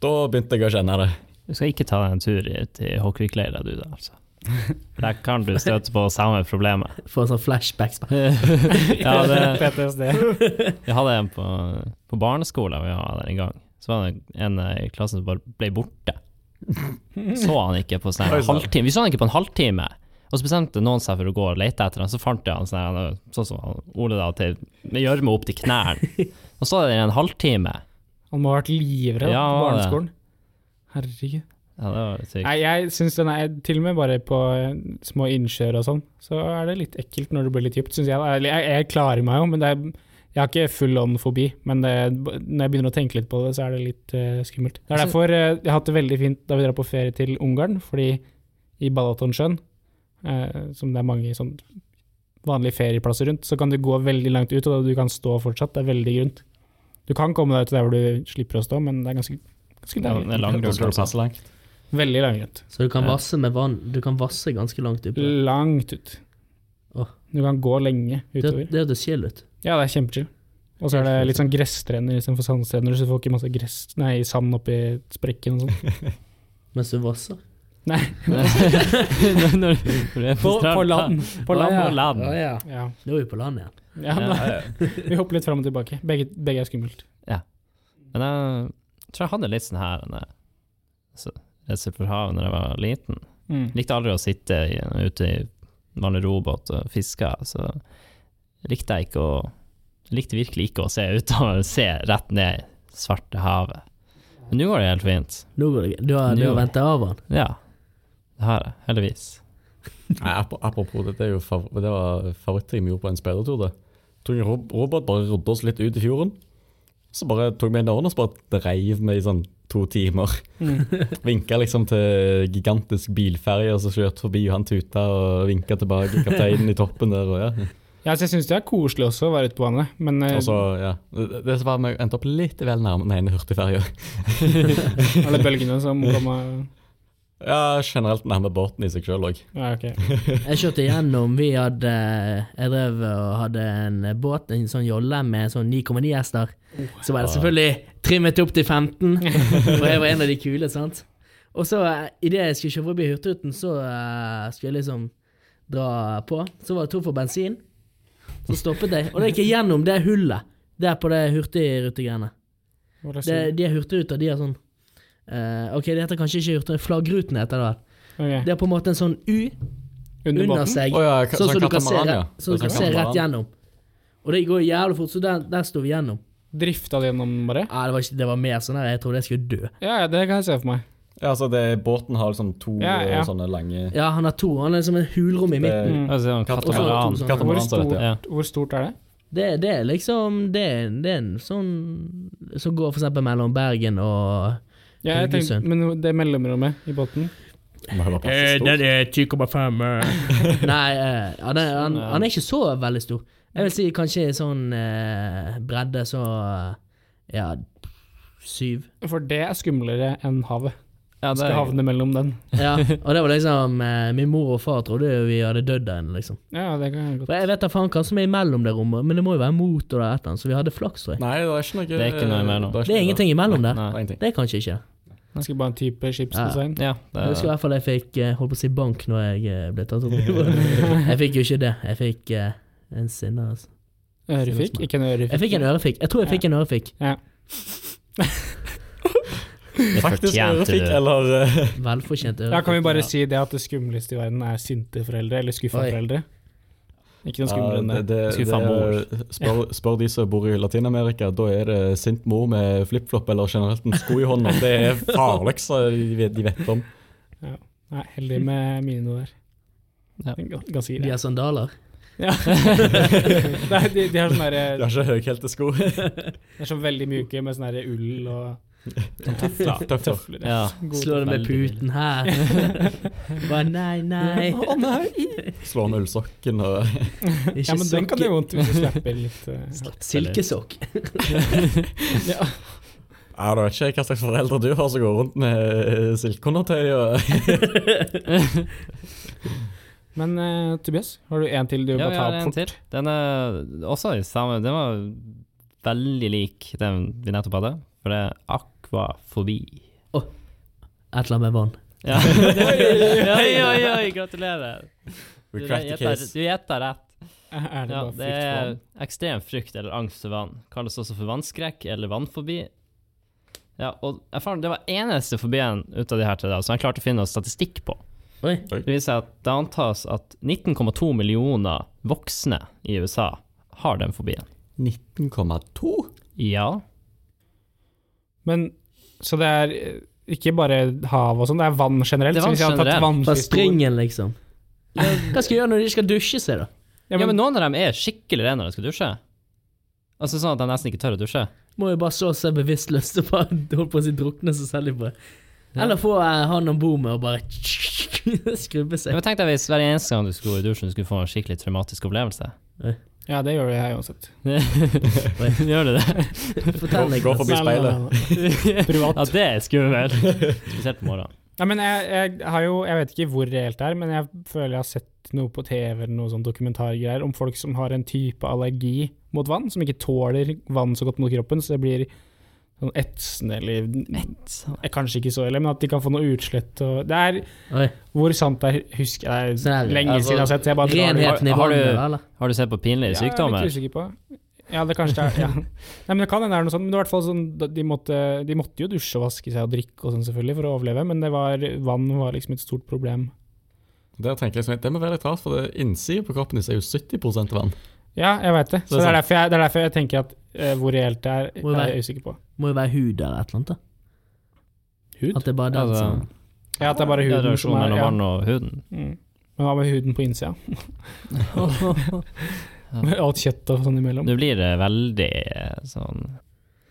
Da begynte jeg å kjenne det. Du skal ikke ta deg en tur i- til Håkvikleira, du da, altså. Der kan du støte på samme problemet. Får sånn flashbacks. ja, det, PTSD. jeg hadde en på, på barneskolen vi var der en gang. Så var det en eh, i klassen som bare ble borte. Så han ikke på sånn Oi, en sann. halvtime. Vi så han ikke på en halvtime. Og så bestemte noen seg for å gå og lete etter han, så fant jeg han sånn her, sånn som han- Ole da, til, med gjørme opp til knærne. Og så var det en halvtime. Han må ha vært livredd Ja, på han var det. barneskolen. Herregud. Ja, det var sykt. Nei, jeg syns den er Til og med bare på eh, små innsjøer og sånn, så er det litt ekkelt når det blir litt dypt, syns jeg. da. Eller, Jeg, jeg klarer meg jo, men det er, jeg har ikke full on fobi. Men det, når jeg begynner å tenke litt på det, så er det litt eh, skummelt. Det er Altså- derfor eh, jeg har hatt det veldig fint da vi drar på ferie til Ungarn, fordi i Balatonsjøen, eh, som det er mange sånn vanlige ferieplasser rundt, så kan du gå veldig langt ut, og du kan stå fortsatt. Det er veldig grunt. Du kan komme deg ut der hvor du slipper å stå, men det er ganske, ganske Det er- det er lang altså. Da tur. skal du passe langt. Veldig langgrunt. Så du kan Ja. vasse med vann. Du kan vasse ganske langt opp. Det, Langt ut. Åh. Du kan gå lenge utover. det hørtes chill ut. Ja, det er kjempechill. Og så er det litt sånn gresstrener istedenfor sandstrener, så du får ikke masse gress, nei, sand oppi sprekken og sånn. Mens du vasser. Når- når- når du er På, stranda. på land. På land. På land. Å ja. Ja. Nå er vi på land igjen. ja Ja. da. Vi hopper litt fram og tilbake. Begge, begge er skummelt. Men jeg tror jeg hadde litt sånn her en, eh, altså, redsel for havet når jeg var liten. Mm. Jeg likte aldri å sitte i, ute i vanlig robåt og fiske, så likte jeg ikke å jeg likte virkelig ikke å se utover, se rett ned i svarte havet. Men nå går det helt fint. Nå går det greit. Du har, du har Nå. ventet av han. Ja, det har jeg, heldigvis. Nei, ap- apropos det, det, er jo favor det var favorittting vi gjorde på en speidertur. det. Tok en rob- robot, bare rodde oss litt ut i fjorden. Så bare tok vi en ørn og så bare dreiv vi i sånn to timer. Vinka liksom til gigantisk bilferje som kjørte forbi, og han tuta og vinka tilbake. Kapteinen i toppen der og ja. Ja, så jeg syns det er koselig også å være ute på vannet, men eh, Og så, ja. Det det som var vi endte opp litt vel nærme den ene hurtigferja. alle bølgene som kommer Ja, generelt nærme båten i seg sjøl òg. Ja, ok. Jeg kjørte gjennom. Vi hadde Jeg drev og hadde en båt, en sånn jolle med sånn 9,9 hester. Så var det selvfølgelig trimmet opp til 15, for jeg var en av de kule, sant. Og så eh, idet jeg skulle kjøre forbi Hurtigruten, så eh, skulle jeg liksom dra på. Så var det tom for bensin. Så stoppet jeg, og da gikk jeg gjennom det hullet der på det hurtigrutegreiene. Hva er det Det, så- de er hurtigruter, de er sånn eh, OK, det heter kanskje ikke hurtigruten, flaggruten heter det vel. ok. Det er på en måte en sånn U Under under båten? seg. Å ja, ka- Sånn sånn som du kan se, katamaran, ja. rett- sånn Sånn du kan se katamaran. rett gjennom. Og det går jævlig fort, så der, der står vi gjennom. Drifta det gjennom bare? Ja, det, var ikke, det var mer sånn der, jeg trodde jeg skulle dø. Ja, ja, det kan jeg se for meg. Ja, altså det, båten har liksom to Ja, ja. eh, sånne lange Ja, han har to. Han er som en hulrom i midten. eh, Altså, sånn Katt- katamaran. Sånn. Hvor Katamaran, så dette, ja. Ja. stort, hvor stort er det? Det, det er liksom Det er, det er en sånn som går for eksempel mellom Bergen og Ja, jeg tenkte, Haugesund. men det mellomrommet i båten Må jo være passe stort. Eh, er 10,5 Nei, eh, han, er, han, han er ikke så veldig stor. Jeg vil si kanskje sånn eh, bredde så Ja, syv. For det er skumlere enn havet. Ja, det Skal er, havne mellom den. Ja, og det var liksom eh, Min mor og far trodde jo vi hadde dødd der inne, liksom. Ja, det kan jeg For godt. jeg vet da faen hva som er imellom det rommet, men det må jo være motor der etter, så vi hadde flaks, tror jeg. Nei, det er ikke noe Det er ikke noe er imellom. ikke Det er noe- ingenting imellom der. nei, Det er ingenting. Det er kanskje ikke. Skal bare en type skipsdesign. ja, det Jeg husker i hvert fall jeg fikk eh, holdt på å si bank når jeg eh, ble tatt opp. Jeg fikk jo ikke det. Jeg fikk eh, en sinne, altså. Ørefikk? Ikke en ørefikk. Jeg fikk en ørefik. Jeg tror jeg fikk en ørefik. det Faktisk fortjente ørefik, du. eller eh, Velfortjent ørefik. Ja, kan vi bare si det at det skumleste i verden er sinte foreldre, eller skuffa Oi. foreldre? Ikke noe skumlere enn ja, det. det- Skuffa mor. det- Spør, spør de som bor i Latin-Amerika, da er det sint mor med flipflop eller generelt en sko i hånda. Det er farligste de vet- de vet om. Nei, heldig med mine noe der. Ja. Det er gans- Ganske De greit. har sandaler. Ja. Nei, de, de har sånn De derre har ikke høyhælte sko. De er sånn veldig mjuke med sånn derre ull og Sånn Tøft, da. tøfler. Ja. God- Slår det med Veldig puten her. Bare nei, nei. Slå med ullsokken og Ikke Ja, men den kan sokker. gjøre vondt hvis du slapper litt. eh. Silkesokk. Ja. Ja, da vet ikke jeg hva slags foreldre du har som går rundt med eh, silkeundertøy og Men eh, Tobias, har du en til du Ja, må vi ta opp har en fort? til. Den er også i samme Den var veldig lik den vi nettopp hadde, for det er akvafobi. Et eller annet med vann. Ja. oi, oi, oi, gratulerer. Du We cracked the gjetter case. du gjetter rett. Er er det Ja, bare det frykt for er vann? ekstrem frykt eller angst for vann. Kalles også for vannskrekk eller vannfobi. Ja, og erfaren, Det var eneste fobien ut av de her til da, som jeg klarte å finne noe statistikk på. Oi. Det viser seg at det antas at 19,2 millioner voksne i USA har den fobien. 19,2? Ja. Men så det er eh, ikke bare hav og sånn, det er vann generelt? Det er så vann hvis jeg hadde tatt generelt. Fra vannpistol- springen, liksom. Hva skal jeg gjøre når de ikke skal dusje seg, da? Ja, men, noen av dem er skikkelig rene når de skal dusje. Altså sånn at de nesten ikke tør å dusje. Må jo bare så seg bevisstløse på holdt på å si drukne seg selv i på. Eller få eh, han om bord med og bare skrubbe seg. Men tenk deg hvis hver eneste gang du skulle gå i dusjen, du skulle få en skikkelig traumatisk opplevelse. ja det gjør jeg uansett. Gjør du det? Fortell meg. Gå- gå forbi. Niklas. Nei, nei, nei, nei. Privat. Ja, det er skummelt. Spesielt på morgenen. Ja, men jeg, jeg har jo, jeg vet ikke hvor reelt det er, men jeg føler jeg har sett noe på TV eller noe sånn dokumentargreier om folk som har en type allergi mot vann, som ikke tåler vann så godt mot kroppen, så det blir sånn etsende eller eh, Kanskje ikke så ille, men at de kan få noe utslett og Det er Oi. hvor sant det er, husker jeg det Sånn er her, lenge altså, siden jeg har sett, så jeg bare drar det ut. Renheten i Har- har vannet, du- da, eller? Har du sett på Ja, pinlige jeg er sykdommer? litt usikker på. Ja, det kanskje det er ja. Nei, men det kan hende det er noe sånt. Men det var i hvert fall sånn, da- de måtte, de måtte jo dusje og vaske seg og drikke og sånn selvfølgelig for å overleve, men det var, vann var liksom et stort problem. Der tenker jeg sånn, Det må være litt rart, for det innsiden på kroppen din er jo 70 vann. Ja, jeg veit det. Så Det er det er, sant. derfor jeg, det er derfor jeg tenker at eh, hvor reelt det er, Hvor er vei- jeg usikker på. Må jo være hud eller et eller annet, da. Hud? At det er bare Ja, den det- som Ja, at det er bare Ja, huden som reaksjon er mellom ja. vann og huden. mm. Men hva med huden på innsida? Med alt kjøtt og sånn imellom. Det blir eh, veldig eh, sånn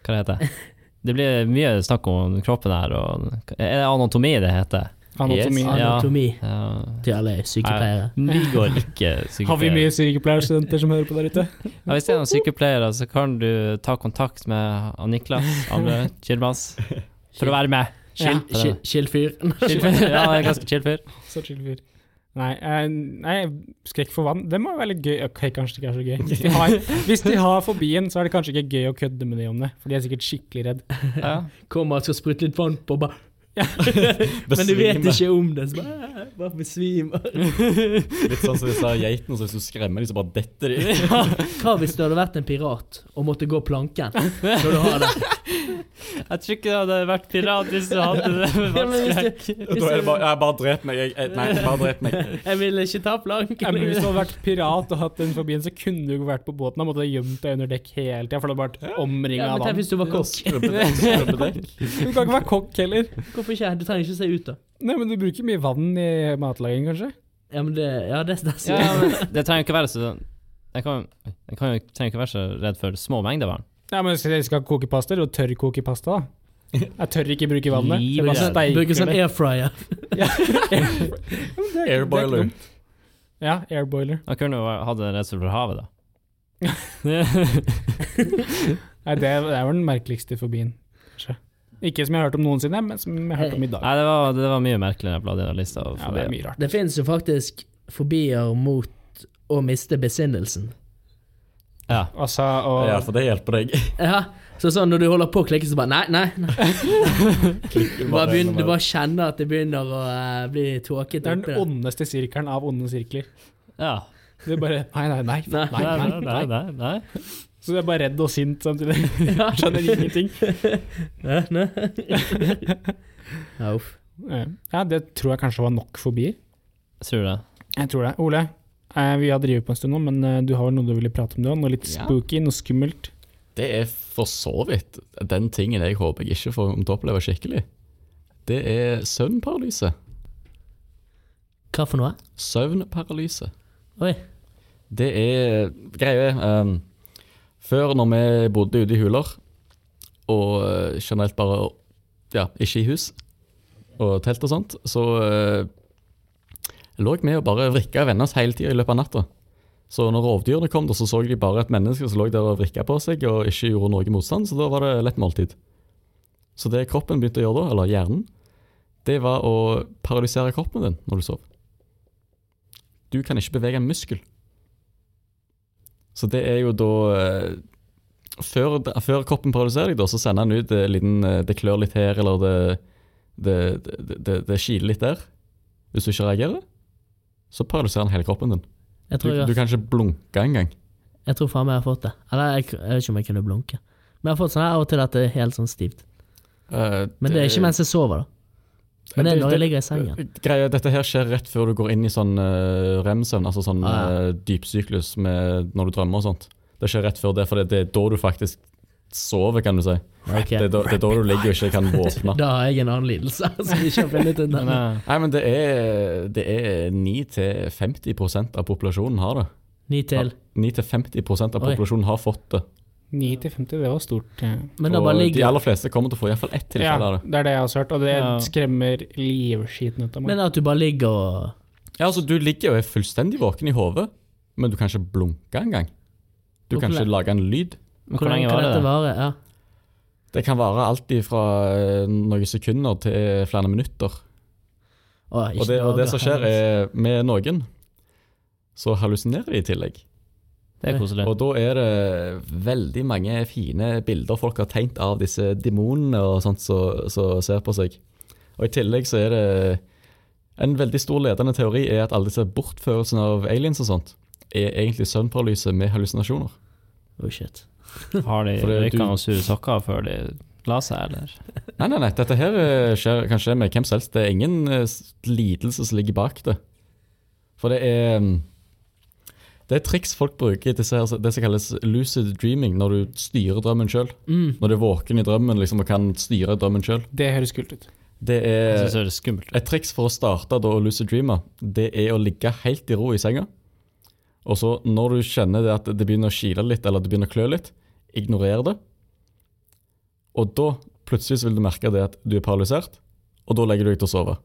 Hva det heter det? Det blir mye snakk om kroppen her, og Er det anatomi det heter? Anatomi. Yes. Ja. anatomi Ja. til alle sykepleiere. Vi går ikke sykepleier. Har vi mye sykepleierstudenter som hører på der ute? Ja, hvis det er noen sykepleiere, så kan du ta kontakt med han Niklas Amle Kilmans for å være med. Ja. Chill- chill- Chill fyr. Chill fyr. Ja, han er ganske chill fyr. Så chill fyr. Nei, eh, nei, skrekk for vann, det må jo være litt gøy. Ok, kanskje det ikke er så gøy. Hvis de, har, hvis de har fobien, så er det kanskje ikke gøy å kødde med de om det, for de er sikkert skikkelig redd. Ja. Kommer og skal sprute litt vann på, og bare Men du vet ikke om det, så bare, "Æ, bare besvimer. Litt sånn som disse geitene, så hvis du skremmer dem, så bare detter de. Hva hvis du hadde vært en pirat og måtte gå planken når du har det? Jeg tror ikke det hadde vært pirat hvis du hadde det med Ja, men hvis du- vannskrekk. Da er det bare Jeg bare drep meg. Jeg, jeg, nei, bare drep meg. Jeg vil ikke ta planken. Ja, men hvis du hadde vært pirat og hatt den fobien, så kunne du ikke vært på båten. Da måtte du ha gjemt deg under dekk hele tida, for du hadde vært omringa Ja, av men tenk vann. hvis du var kokk. Skrubbedekk, skrubbedekk. Du kan ikke være kokk heller. Hvorfor ikke? Du trenger ikke se ut, da. Nei, men du bruker mye vann i matlaging, kanskje? Ja, men det, ja, det, det, Ja, men det trenger ikke være så Jeg, kan, jeg kan, jo- trenger ikke være så redd for små mengder vann. Nei, men hvis jeg skal koke pasta, eller tørrkoke pasta, da. Jeg tør ikke bruke vannet. Jeg bare Livredd. steiker Bruker det. sånn air fryer. Det er ikke- det er ikke Airboiler. dumt. Ja, airboiler. Jeg kunne jo hatt en redsel for havet, da. Nei, det, det er vel den merkeligste fobien, kanskje. Ikke som jeg har hørt om noensinne, men som jeg har hørt om i dag. Nei, det var, det var mye merkelig når jeg bladde gjennom lista. og Ja, det forbi. er mye rart. Det finnes jo faktisk fobier mot å miste besinnelsen. Ja. Altså, Ja, og for det hjelper deg. Ja, så sånn når du holder på å klikke, så bare Nei, nei. nei. Du, bare begynner, du bare kjenner at det begynner å eh, bli det tåkete er den oppi der. ondeste sirkelen av onde sirkler. ja. Det er bare Nei, nei, nei. Nei. nei, nei, nei, nei. nei, nei. Så du er bare redd og sint samtidig. Ja. Skjønner ingenting. Hæ? Nei. Ja, uff. Ja, det tror jeg kanskje var nok fobier. Jeg tror det. Jeg tror det. Ole, eh, vi har drevet på en stund nå, men eh, du har vel noe du ville prate om? Du har noe litt Ja. spooky, noe skummelt? Det er for så vidt den tingen jeg håper jeg ikke får om til å oppleve skikkelig. Det er søvnparalyse. Hva for noe? Søvnparalyse. Oi. Det er greie um, Før, når vi bodde ute i huler, og eh, generelt bare ja, ikke i hus og telt og sånt, så eh, lå jeg med og bare vrikka og vende oss hele tida i løpet av natta. Så når rovdyrene kom, da, så så de bare et menneske som lå der og vrikka på seg og ikke gjorde noe motstand, så da var det lett måltid. Så det kroppen begynte å gjøre da, eller hjernen, det var å paralysere kroppen din når du sov. du kan ikke bevege en muskel. Så det er jo da eh, Før, før kroppen paralyserer deg, da, så sender han ut en liten eh, Det klør litt her, eller det, det, det, det, det kiler litt der. Hvis du ikke reagerer, så paralyserer han hele kroppen din. Jeg Du, tror, jeg, du kan ikke blunke engang. jeg tror faen meg jeg har fått det. Eller jeg, jeg vet ikke om jeg kunne blunke. Men jeg har fått sånn her av og til at det er helt sånn stivt. Eh, Men det er ikke mens jeg sover, da. Men det er når jeg ligger i sengen. Eh, Greia, dette her skjer rett før du går inn i sånn uh, rem-søvn, altså sånn Ah, ja. eh, dypsyklus med, når du drømmer og sånt. Det skjer rett før det, for det, det er da du faktisk sover, kan du si. Ok. Det, er da, det er da du ligger og ikke kan våkne. Da har jeg en annen lidelse som vi ikke har funnet ut Men, ennå. eh, Nei, men det er, det er 9-50 av populasjonen har det. Ny til. 9-50 av Oi. populasjonen har fått det. 9 til 50, det var stort. eh. Men da bare og de ligger aller fleste kommer til å få iallfall ett Ja, tilfelle av det. det er det jeg har hørt, og det Ja. skremmer livskiten ut av meg. Men at du bare ligger og Ja, altså, du ligger og er fullstendig våken i hodet, men du kan ikke blunke engang. Du kan Hvorfor ikke lage en lyd. men hvor Hvordan kan lenge var det? dette da? vare? Ja. Det kan vare alt fra noen sekunder til flere minutter. Å, ikke Og det, og vare. det som skjer er med noen, så hallusinerer de i tillegg. Det er koselig. Og da er det veldig mange fine bilder folk har tegnet av disse demonene og sånt som som ser på seg. Og i tillegg så er det En veldig stor ledende teori er at alle disse bortførelsene av aliens og sånt, er egentlig søvnparalyse med hallusinasjoner. Oh, shit. Har de For det- røyka du- Eh. noen sure sokker før de la seg, eller? Nei, nei, nei, dette her eh, skjer, kan skje med hvem som helst. Det er ingen eh, s- lidelse som ligger bak det. For det er mm, Det er triks folk bruker, disse, her- det som kalles lucid dreaming, når du styrer drømmen sjøl. Mm. Når du er våken i drømmen liksom, og kan styre drømmen sjøl. Det høres kult ut. Det Jeg er synes det høres skummelt ut. et triks for å starte da, å lucid dreame. Det er å ligge helt i ro i senga. Og så når du kjenner det at det begynner å kile litt, eller det begynner å klø litt, ignorer det. Og da plutselig så vil du merke det at du er paralysert, og da legger du deg til å sove.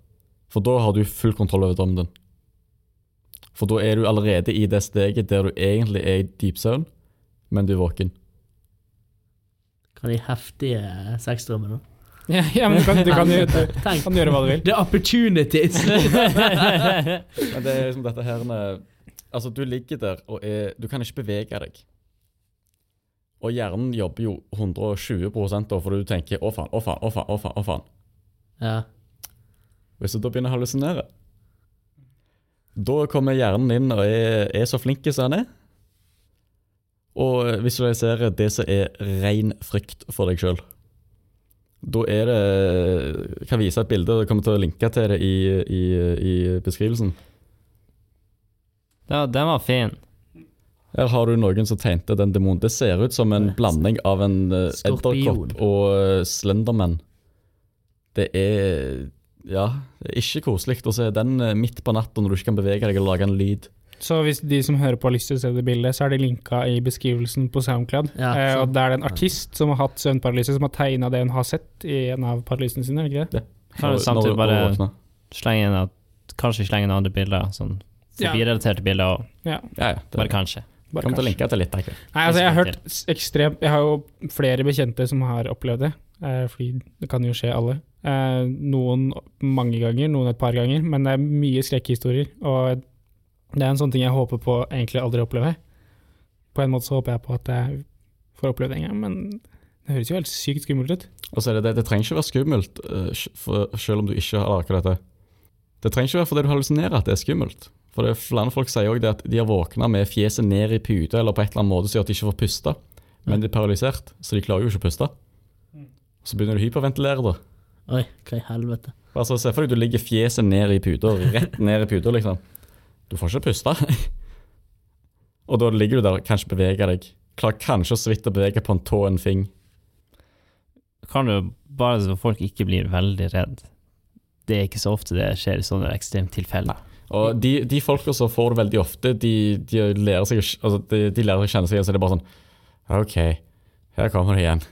For da har du full kontroll over drømmen din. For da er du allerede i det steget der du egentlig er i dypsøvn, men du er våken. Hva er de heftige sexdrømmene? da? Ja, ja men du kan, du kan, jo- du Tenk, kan gjøre hva du vil. the opportunities! Men det er liksom dette her med- Altså, du ligger der og er Du kan ikke bevege deg. Og hjernen jobber jo 120 da, for du tenker 'å faen, å faen, å faen'. å faen, å faen. ja. Hvis du da begynner å hallusinere Da kommer hjernen inn og er, er så flink som den er. Og visualiserer det som er ren frykt for deg sjøl. Da er det Kan vise et bilde, og jeg kommer til å linke til det i, i, i beskrivelsen. Ja, den var fin. Her har du noen som tegnte den demonen. Det ser ut som en Nei. blanding av en eh, Skorpion. edderkopp og eh, Slenderman. Det er ja, det er ikke koselig å se den eh, midt på natta når du ikke kan bevege deg og lage en lyd. Så hvis de som hører på har lyst til å se det bildet, så er det linka i beskrivelsen på SoundCloud. Ja, eh, sant. og der er det en artist som har hatt søvnparalyse, som har tegna det hun har sett i en av paralysene sine, er det ikke det? Kan Når- du samtidig når- bare når du våkner. slenge inn at Kanskje slenge inn andre bilder, sånn Ja. forbi-relaterte bilder, og Ja, Ja, ja. Det, bare kanskje. bare kommer kanskje. til å linke til litt. Takk. Nei, altså jeg har hørt s- ekstremt Jeg har jo flere bekjente som har opplevd det, eh, fordi det kan jo skje alle. Eh, noen mange ganger, noen et par ganger, men det er mye skrekkhistorier. Og det er en sånn ting jeg håper på egentlig aldri å oppleve. På en måte så håper jeg på at jeg får oppleve det en gang, men det høres jo helt sykt skummelt ut. Og så er det det, det trenger ikke være skummelt eh, sj- for, selv om du ikke har laget dette. Det trenger ikke være fordi du hallusinerer at det er skummelt. For det er flere folk sier også det at de har våkna med fjeset ned i puta eller på et eller annet måte som gjør at de ikke får puste. Men de er paralysert, så de klarer jo ikke å puste. Så begynner du å hyperventilere, da. Oi, hva i helvete. Altså, Se for deg du ligger fjeset ned i puta, rett ned i puta, liksom. Du får ikke puste. Og da ligger du der og kan ikke bevege deg. Klarer kanskje så vidt å bevege på en tå, en fing. Kan du bare så folk ikke blir veldig redd. Det er ikke så ofte det skjer i sånne ekstreme tilfeller. Og de, de folka som får det veldig ofte, de, de, lærer seg, å kj- altså de, de lærer seg å kjenne seg igjen, så det er bare sånn OK, her kommer det igjen.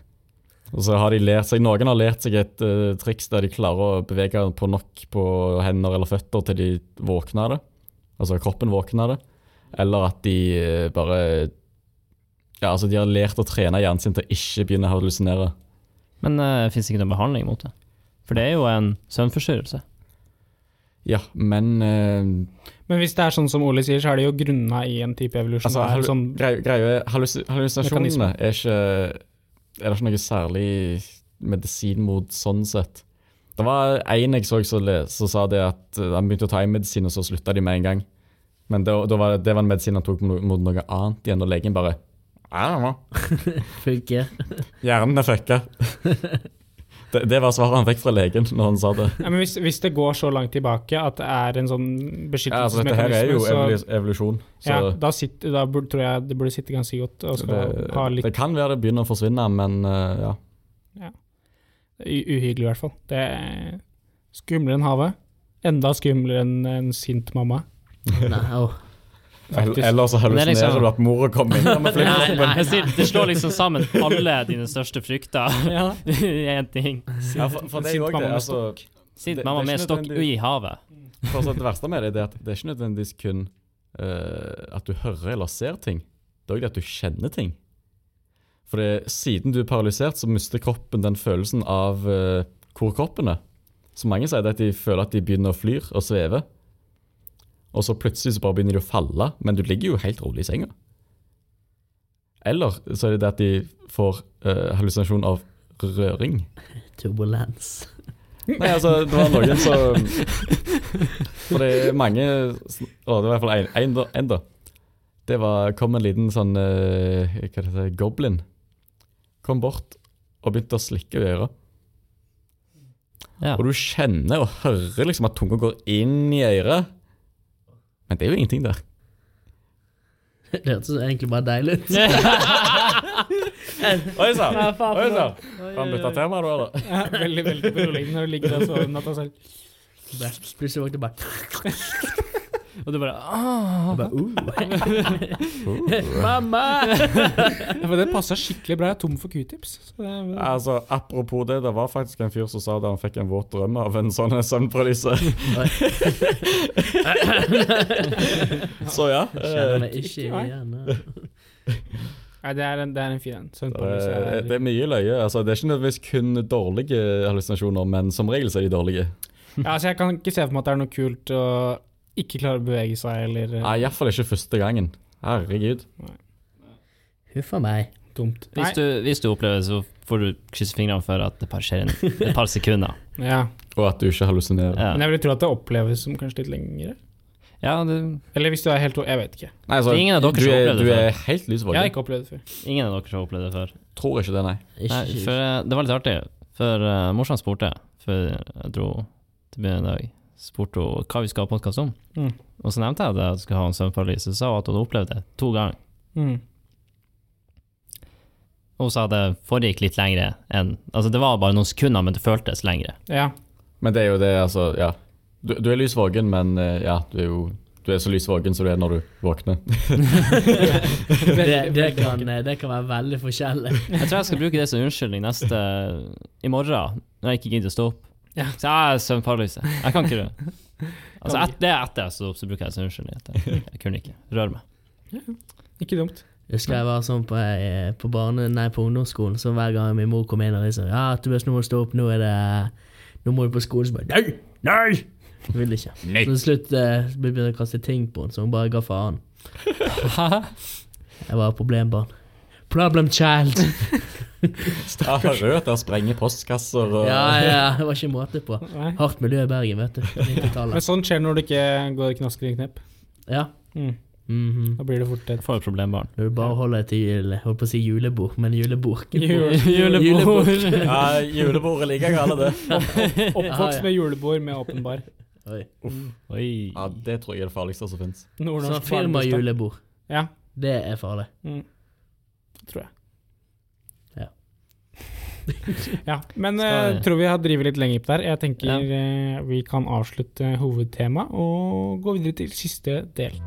Og så har de lært seg, Noen har lært seg et eh, triks der de klarer å bevege på nok på hender eller føtter til de våkner av det. Altså kroppen våkner av det. Eller at de eh, bare Ja, altså de har lært å trene hjernen sin til å ikke begynne å hallusinere. eh, Men uh, fins ikke noen behandling mot det? For det er jo en søvnforstyrrelse. Ja, men eh, Men hvis det er sånn som Ole sier, så er det jo grunna i en type evolusjon. altså, hallu sånn, greie, greie, hallus hallusinasjonene Mekanisme. er ikke Er det ikke noe særlig medisin mot sånn sett? Det var en jeg så som le- som sa det at eh, han begynte å ta en medisin, og så slutta de med en gang. Men det, det, var, det var en medisin han tok mot, mot noe annet igjen, og legen bare I don't know. Funker. Hjernen er fucka. det, det var svaret han fikk fra legen når han sa det. ja, men hvis, hvis det går så langt tilbake at det er en sånn Ja, altså, dette her er jo beskyttelsesmekanisme, så evolu- evolusjon. Så ja, da, sitter, da burde, tror jeg det burde sitte ganske godt. Og skal det, ha litt det kan være det begynner å forsvinne, men eh, ja. u- uhyggelig, i hvert fall. Det er skumlere enn havet. Enda skumlere enn en sint mamma. Nei, åh. Faktisk. Eller så Men det er liksom- hallusinerer du at mora kommer inn. med Nei, flyet. nei, jeg sier, det slår liksom sammen alle dine største frykter i én ting. Ja, for, for det er Sint jo også mamma det. med Altså, Sint Det- mamma det er med ikke stokk i nødvendig- havet. for det verste med det, det er at det er ikke nødvendigvis kun eh, at du hører eller ser ting. Det er òg det at du kjenner ting. For det, siden du er paralysert, så mister kroppen den følelsen av eh, hvor kroppen er. Så mange sier det at de føler at de begynner å flyr og sveve. Og så plutselig så bare begynner de å falle, men du ligger jo helt rolig i senga. Eller så er det det at de får eh, hallusinasjon av røring. Turbulens. Nei, altså, det var noen som For det er mange sn- Å, det var i hvert fall en- en da- en da. Det var, kom en liten sånn eh, Hva heter det? Goblin. Kom bort og begynte å slikke i øret. Ja. Og du kjenner og hører liksom at tunga går inn i øret. Men det er jo ingenting der. Det hørtes egentlig bare deilig ut. Oi sann! Ja, faen. Oi sann! Har han bytta tema, da? eller? Ja, veldig veldig beroligende når du ligger der og sover om natta selv. Plutselig våkner jeg bare, Og du bare «Ah». jeg bare uh. Mamma! Ja, for det passa skikkelig bra. Jeg er tom for q-tips. så det er- Altså, Apropos det, det var faktisk en fyr som sa da han fikk en våt drøm av en sånn søvnparalyse. så ja. Kjenner eh, meg ikke igjen. ja. Nei, det er en, det er en fin en. Søvnparalyse Det er- er, Eh, det er mye løye. Altså, det er ikke nødvendigvis kun dårlige hallusinasjoner, men som regel så er de dårlige. Ja, altså, jeg kan ikke se for meg at det er noe kult å ikke klare å bevege seg, eller Nei, Iallfall ikke første gangen. Herregud. Huff a meg. dumt. Hvis du, hvis du opplever det, så får du krysse fingrene for at det bare skjer en- et par sekunder. Ja. Og at du ikke hallusinerer. Ja, Men jeg ville tro at det oppleves som kanskje litt lengre. ja det, Eller hvis du er helt Jeg vet ikke. Nei, altså, Det er ingen av dere du som har er, opplevd det du er helt lys Jeg har våken. ikke opplevd det før. ingen av dere som har opplevd det før. Tror ikke det, nei. Ikke, Nei, ikke, for eh, Det var litt artig, for uh, morsan spurte før jeg dro til byen i dag, spurte hun hva vi skal ha podkast om. Mm. Og så nevnte jeg det at jeg skulle ha en søvnparalyse, så sa hun at hun hadde opplevd det to ganger. Mm. Og hun sa det foregikk litt lengre enn Altså, det var bare noen sekunder, men det føltes lengre. Ja. Men det er jo det, altså. Ja. Du, du er lys våken, men eh, ja, du er jo du er så lys våken som du er når du våkner. det, Veldig- det, veldig kan, eh, enkelt. det kan være veldig forskjellig. Jeg tror jeg skal bruke det som unnskyldning neste i morgen, når jeg ikke gidder å stå opp. Ja. Så jeg har søvnparalyse. Jeg kan ikke det. Altså, et, det er etter jeg sto opp, så bruker jeg det som unnskyldning. at Jeg, jeg kunne ikke røre meg. Ikke dumt. Husker jeg var sånn på, eh, på, barne, nei, på ungdomsskolen, så hver gang min mor kom inn og liksom Ja, Tobias, nå må du stå opp, nå er det Nå må du på skolen. Så bare Nei! Nei! Jeg vil ikke. Nei. Så til slutt eh, så begynte jeg å kaste ting på henne, så hun bare ga faen. Jeg var problembarn. Problem child! Ja, rød der sprenger postkasser og Ja, ja, det var ikke måte på. Nei. Hardt miljø i Bergen, vet du. på 90-tallet. Men sånt skjer når det ikke går knasker i knep. Ja. Mm. Mhm. Da blir det fort et For et problem, barn. Når du bare holder deg til jule, holdt på å si julebord, men julebord. Jule- Julebord. ja julebordet liker jeg alle det. oppvokst med julebord med åpen bar. Oi. Oi. Ja, Det tror jeg er det farligste som fins. Sånn Nordnorsk barnebursdag. firmajulebord, Ja, det er farlig. tror jeg. Ja. ja. Men Skal- jeg tror vi har drevet litt lenger på der. Jeg tenker Ja. eh, vi kan avslutte hovedtema og gå videre til siste del.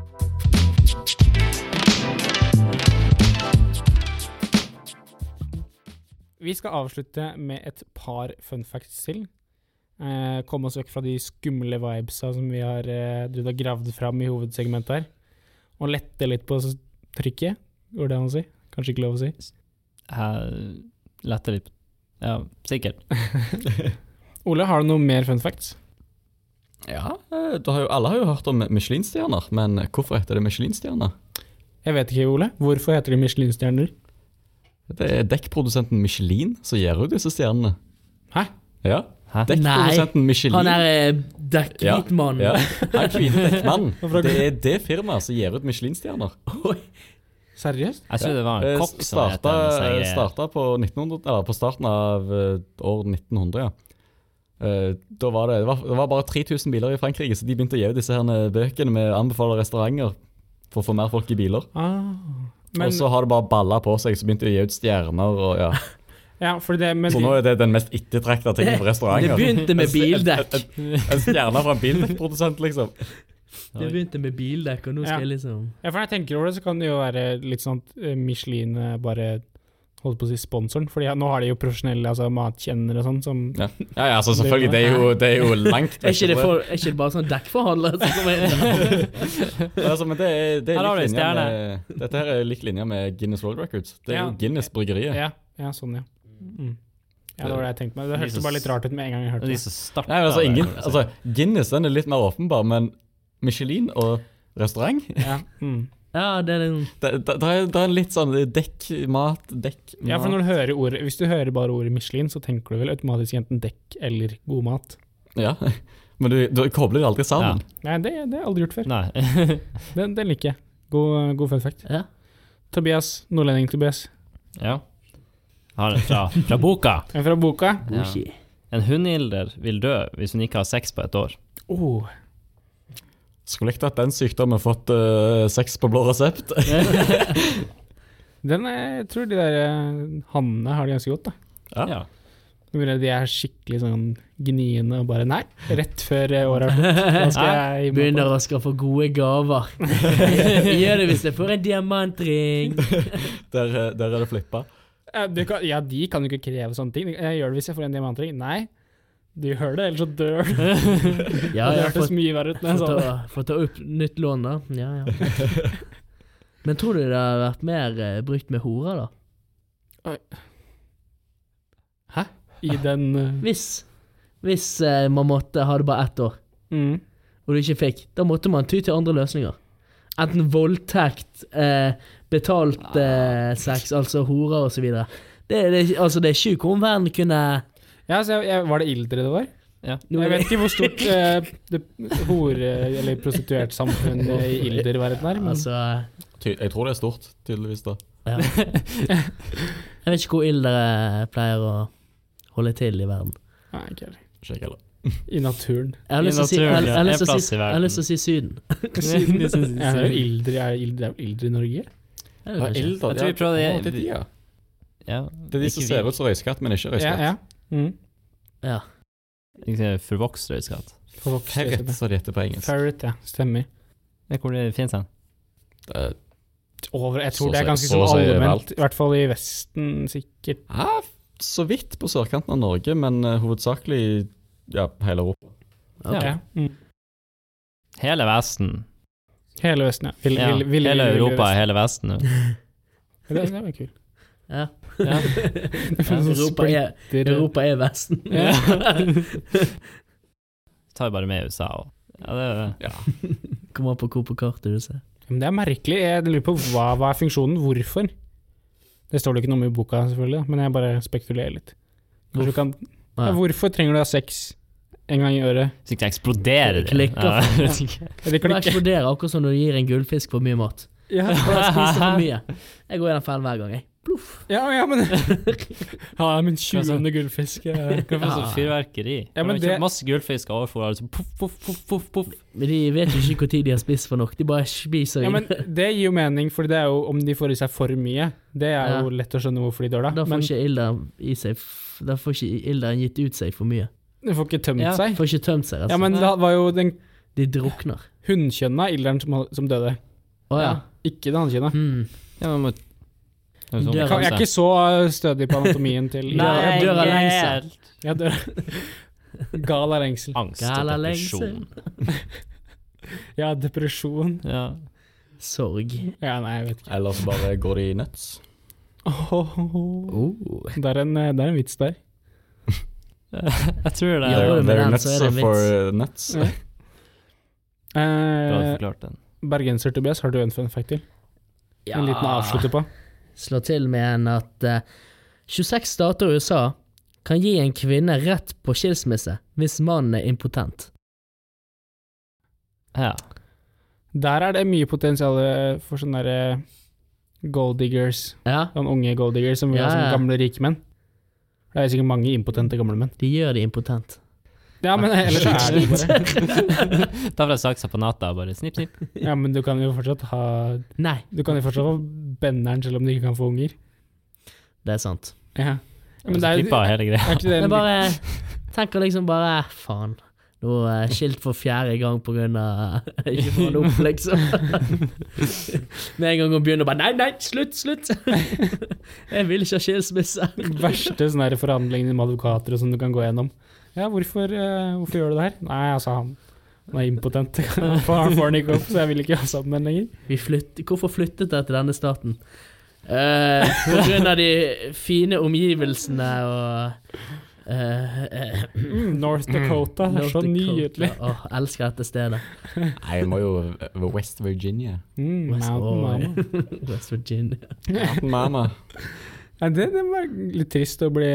Vi skal avslutte med et par fun facts til. Eh, komme oss vekk fra de skumle vibesa som vi har eh, drevet og gravd fram i hovedsegmentet her. Og lette litt på s- trykket, går det an å si? Kanskje ikke lov å si. Jeg letter litt på- Ja, sikkert. Ole, har du noe mer fun facts? Ja, eh, du har jo, alle har jo hørt om Michelin-stjerner, men hvorfor heter det Michelin-stjerner? Jeg vet ikke, Ole. Hvorfor heter de Michelin-stjerner? Det er dekkprodusenten Michelin som gir ut disse stjernene. Hæ? Ja. Hæ? Dekkprodusenten Michelin. Han er eh, ja. dekkitmann. Ja. Han er kvinnedekkmann. Det er det firmaet som gir ut Michelin-stjerner. Seriøst? Jeg trodde det var en Eh, kokk som het starta, det, mens jeg- starta på, 1900, eller på starten av eh, år 1900, ja. Eh, Da var det, det, var, det var bare 3000 biler i Frankrike, så de begynte å gi ut disse herne bøkene med anbefalte restauranter for å få mer folk i biler. Ah. Men, og så har det bare balla på seg, så begynte de å gi ut stjerner. Og, ja. ja, for det, men, Så nå er det den mest ettertrakta tingen på Det restauranter. Altså, begynte med bildekk. En, en, en, en stjerne fra en bildekkprodusent, liksom. Det begynte med bildekk, og nå skal Ja. jeg liksom ja, for når jeg tenker over det, så kan det jo være litt sånn at eh, Michelin eh, bare holdt på å si sponsoren, for nå har de jo profesjonelle altså, matkjennere og sånn som Ja, ja, ja altså, selvfølgelig. Det er jo, det er jo langt. Er ikke det, vekk fra for, er ikke det bare sånn dekkforhandler som kommer inn? det. altså, men det er, det Her er har du lik en linje med, dette her er lik linje med Guinness World Records. Det er Ja. jo Guinness Bryggeriet. Ja, ja sånn, ja. Mm. Ja, det var det jeg tenkte meg. Det De hørtes som- bare litt rart ut med en gang jeg hørte De det. som starta Nei, men altså, det, ingen, kan du si. altså, Guinness den er litt mer åpenbar, men Michelin og restaurant Ja, mm. Ja, det er liksom- den Det, det, det, er, det er litt sånn det er dekk, mat, dekk, mat. ja for når du hører ordet, hvis du hører bare ordet Michelin, så tenker du vel automatisk enten dekk eller god mat. Ja. Men du, du kobler det aldri sammen. Nei, det, det har jeg aldri gjort før. Nei. Den, den liker jeg. God, god fun fact. Ja. Tobias, nordlending Tobias. ja. Har en fra, fra boka. En fra boka. Ja. Oh, En hunnilder vil dø hvis hun ikke har sex på et år. Oh. Skulle ikke hatt den sykdommen fått eh, sex på blå resept. Den er, jeg tror de der eh, hannene har det ganske godt, da. Ja. Ja. Med mindre De er skikkelig sånn gniende og bare Nei, rett før eh, året er slutt. Da skal jeg gi meg på Begynner det.» å skaffe gode gaver. Gjør det hvis jeg får en diamantring. Der, eh, der er det flippa. Eh, du kan, Ja, de kan jo ikke kreve sånne ting. Jeg gjør det hvis jeg får en diamantring. Nei, du gjør det, ellers så dør du. Ja, det jeg har hørtes fått, mye verre ut. når jeg fått, sa det. ta, fått ta opp nytt lån, da. Ja, ja. Men tror du det har vært mer eh, brukt med horer, da? I den eh, Hvis, hvis eh, man måtte ha det bare ett år, mm. og du ikke fikk, da måtte man ty til andre løsninger. Enten voldtekt, eh, betalt eh, sex, altså horer og så videre. Det, det, altså, det er sjukt om verden kunne Ja, så jeg, jeg, Var det ildre det var? Ja. Nå jeg er det- vet ikke hvor stort eh, det hore- eller prostituertsamfunnet i ilderverdenen er. Men Altså Ty jeg tror det er stort, tydeligvis. da. ja. Jeg vet ikke hvor ille dere pleier å holde til i verden. nei, ikke heller. Ikke jeg heller. I naturen. Jeg har lyst til å si- I jeg- naturen, jeg har ja. lyst til En å plass si- i jeg verden. har lyst til å si Syden. Siden- siden- Jeg hører ilder, er ilder, det er jo ilder i Norge? Er det kanskje? Eldre, Jeg tror vi Å, prøvde- det, er de, ja. Ja. det er de som Ikke ser vi. ut som røyskatt, men ikke Ja, røyskatt. ja. Mm. Ja. Ikke Forvokst røyskatt. På voks- Ferret, som det heter på engelsk. Ferret, ja. Stemmer. Det er hvor det finnes hen. Det er- Over, jeg tror Så det er sier- ganske så sånn sier allment, i hvert fall i Vesten sikkert. Ja, så vidt på sørkanten av Norge, men eh, hovedsakelig ja, hele Europa. Ja. Ja. Mm. Hele Vesten. Hele Vesten, ja. Vil- Ja. vil- vil- hele vil- vil- Europa er Vesten. hele Vesten. nå. Det, det var kult. Ja. Ja. sånn Europa, er, Europa er Vesten. Ja. Tar jo bare med USA og ja, det, Kommer an på hvor på kartet du ser. Men det er merkelig. Jeg lurer på hva, hva er funksjonen? Hvorfor? Det står det ikke noe om i boka, selvfølgelig, da, men jeg bare spekulerer litt. Kanskje du kan, ja, Ja. hvorfor trenger du å ha sex en gang i året? Hvis ikke det eksploderer det. Klikker Ja. Er det Det klikke? eksploderer akkurat som når du gir en gullfisk for mye mat. Ja, Og den spiser for mye. Jeg går i den fellen hver gang, jeg. Bluff. ja, ja, men Ja, min 20. gullfisk. Ja. Det var sånn fyrverkeri. Ja, men det... var det- ikke Masse gullfisk overfor, altså. og så poff, poff, poff, poff, poff. Men de vet jo ikke når de har spist for nok. De bare spiser Ja, men inn. Det gir jo mening, for det er jo om de får i seg for mye. Det er jo lett å skjønne hvorfor de dør, da. Da får Men ikke ilderen i seg f- Da får ikke ilderen gitt ut seg for mye. de får ikke tømt Ja. seg. Får ikke tømt seg, Ja, altså. men det var jo den De drukner. hunnkjønna ilderen som, som døde, Å ja. ikke det hannkjønna. Hmm. Ja, men må... Det er sånn jo Døra- Jeg kan- jeg er ikke så øh, stødig på anatomien til Nei, jeg dør døra av lengsel. Jeg dør. Gal av lengsel. Angst og Gala depresjon. Ja, depresjon. Ja. Sorg. Ja, nei, jeg vet ikke. Eller så bare går de nuts. Oh. Det, er en, øh, det er en vits der. Jeg tror det Ja, er men They're den, nuts så er det en vits. for nuts. Bra du Eh, forklarte den. bergenser Tobias, har du en fun fact til? En liten avslutter på. slå til med en at eh, 26 stater i USA kan gi en kvinne rett på skilsmisse hvis mannen er impotent. Ja. Der er det mye potensial eh, for sånne der, eh, gold diggers. Ja, Sånne unge gold diggers som vil Ja, ha ja. sånne gamle rike menn. Det er sikkert mange impotente gamle menn. de gjør det impotent. Ja, men ellers er det jo bare Ta fra saksa på natta og bare snipp, snipp. Ja, men du kan jo fortsatt ha Nei, Du kan jo fortsatt få benderen selv om du ikke kan få unger. det er sant. Ja. Og Men så det er, klipper er jeg hele greia. ikke det Jeg en bare tenker liksom bare Faen. Nå er jeg skilt for fjerde gang på grunn av jeg ikke får noe opp, liksom. Med en gang hun begynner bare Nei, nei, slutt, slutt! Jeg vil ikke ha skilsmisse. verste sånne her forhandlingene med advokater og sånn du kan gå gjennom. Ja, hvorfor, eh, hvorfor gjør du det her? Nei, altså, han, han er impotent. Han får den ikke opp, så jeg vil ikke ha sammen med ham lenger. Vi flytt, hvorfor flyttet jeg til denne staten? Eh, på grunn av de fine omgivelsene og eh, eh, Mm, North Dakota det er så North Dakota. nydelig. Åh, elsker dette stedet. Nei, jeg må jo eh, West Virginia. Mm, West- mountain åh, mama. West Virginia. Mama. Nei, det, det var litt trist å bli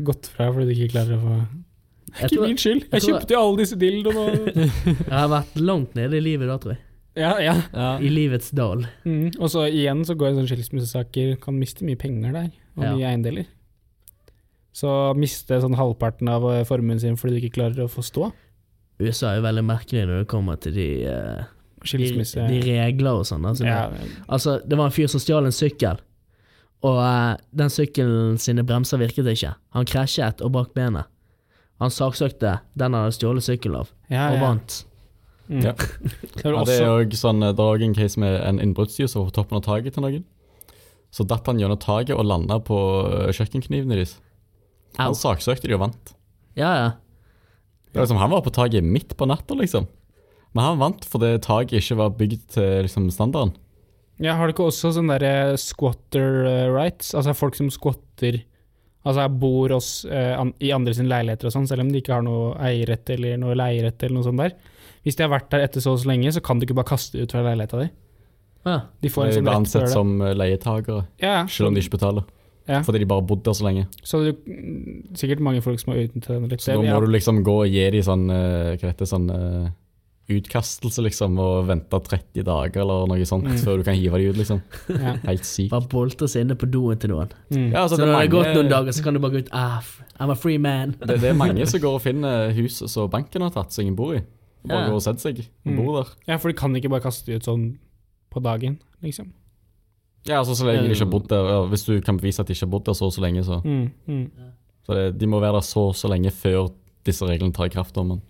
gått fra fordi du ikke klarer å få Det er Jeg, ikke tror, min skyld! jeg Jeg tror- kjøpte jo alle disse dildoene. og- jeg har vært langt nede i livet da, tror jeg. Ja, ja. Ja. I livets dal. Mm. Og så igjen så går sånne skilsmissesaker Kan miste mye penger der, og Ja. mye eiendeler. Så miste sånn halvparten av eh, formuen sin fordi du ikke klarer å få stå. USA er jo veldig merkelig når det kommer til de, eh, de, Skilsmisse de regler og sånn. Altså, liksom ja, altså, det var en fyr som stjal en sykkel, og eh, den sykkelen sine bremser virket ikke. Han krasjet og brakk benet. Han saksøkte den han hadde stjålet sykkelen av, ja, og ja. vant. Mm. Ja. Det var Ja, det også, er jo sånn eh, Det er også en case med en innbruddstyr som var på toppen av taket til noen. Så datt han gjennom taket og landa på eh, kjøkkenknivene deres. Au. Han saksøkte de og vant. Ja, ja. Det var liksom, han var på taket midt på natta, liksom. Men han vant fordi taket ikke var bygd til liksom, standarden. ja, har du ikke også sånne der eh, squatter eh, rights? Altså folk som squatter Altså bor oss eh, an, i andre sine leiligheter og sånn, selv om de ikke har noe eierrett eller noe leierett eller noe sånt der. Hvis de har vært der etter så og så lenge, så kan du ikke bare kaste de ut fra leiligheta di. ja. De får en sånn De rett til ble å ansett gjøre det. som eh, leietagere, Ja, ja. selv om de ikke betaler. Ja. Fordi de bare bodde der så lenge. Så det er jo mm, sikkert mange folk som har utnyttet den litt. Så da må du liksom gå og gi dem sånn, eh, hva heter det, sånn eh, utkastelse, liksom, og vente 30 dager eller noe sånt Mm. før du kan hive dem ut, liksom. ja. Helt sykt. Bare boltres inne på doen til noen. mm. Ja, altså, Så når det har mange- gått noen dager, så kan du bare gå ut ah, f- I'm a free man. Det, det er mange som går og finner hus som banken har tatt, som ingen bor i. Og Bare Ja. går og setter seg og Mm. bor der. ja, for de kan ikke bare kaste de ut sånn på dagen, liksom. Ja, altså så lenge Eh. de ikke har bodd der, ja, Hvis du kan bevise at de ikke har bodd der så og så lenge, så. Mm. Mm. så det, De må være der så og så lenge før disse reglene tar i kraft. om man.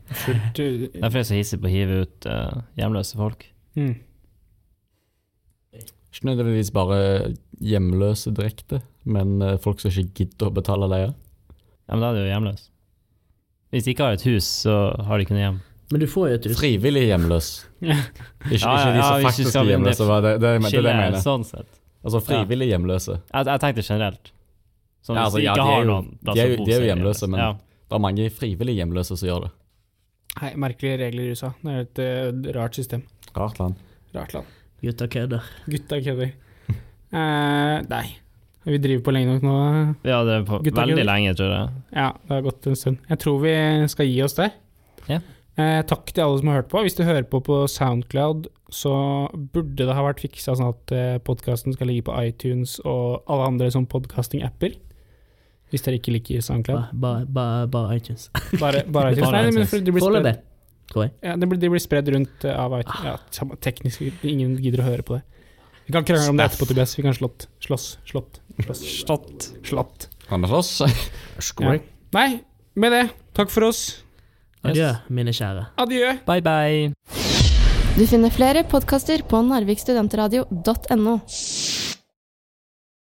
Du, Derfor er jeg så hissig på å hive ut eh, hjemløse folk. mm. Ikke nødvendigvis bare hjemløse direkte, men eh, folk som ikke gidder å betale leie. Ja, men da er du jo hjemløs. Hvis de ikke har et hus, så har de ikke noe hjem. Men du får jo et hus. Frivillig hjemløs. Ja. Ikke, Ja, ja, ikke de ja, som hvis du faktisk skal er bli en hjemløse. hva Det, det, det, er det jeg Skille mener. sånn sett. Altså frivillig hjemløse. Jeg, jeg tenkte generelt. Sånn Ja, hvis altså, de ja, ikke de er har jo- noen plass de er å jo- bo, de er jo så liksom. hjemløse, men- Ja. Det er mange frivillig hjemløse som gjør det. Nei, merkelige regler i USA. Det er et eh, rart system. Rart land. Rart land. Gutta kødder. Gutta kødder. Eh, nei. Vi driver på lenge nok nå. Vi har drevet på Gutta, veldig gutta. lenge, tror jeg. Ja, det har gått en stund. Jeg tror vi skal gi oss der. Ja. Eh, takk til alle som har hørt på. Hvis du hører på på Soundcloud, så burde det ha vært fiksa sånn at eh, podkasten skal ligge på iTunes og alle andre sånn podcasting-apper. Hvis dere ikke liker Soundcloud. Bare ba, ba, bare iTunes. Bare, bare iTunes. Bare Nei, men iTunes. fordi de blir Foreløpig, spredd, tror jeg. ja, de blir, de blir spredd rundt eh, av iTunes. Ja, samme- teknisk, ingen gidder å høre på det. Vi kan krangle om det etterpå, Tobias. Vi kan slått. Slåss. Slått. Slåss. Slått. Slått. Kan det slåss? Ja. Nei, med det, takk for oss. Adjø, Yes. mine kjære. Adjø. Bye, bye. Du finner flere podkaster på narvikstudentradio.no.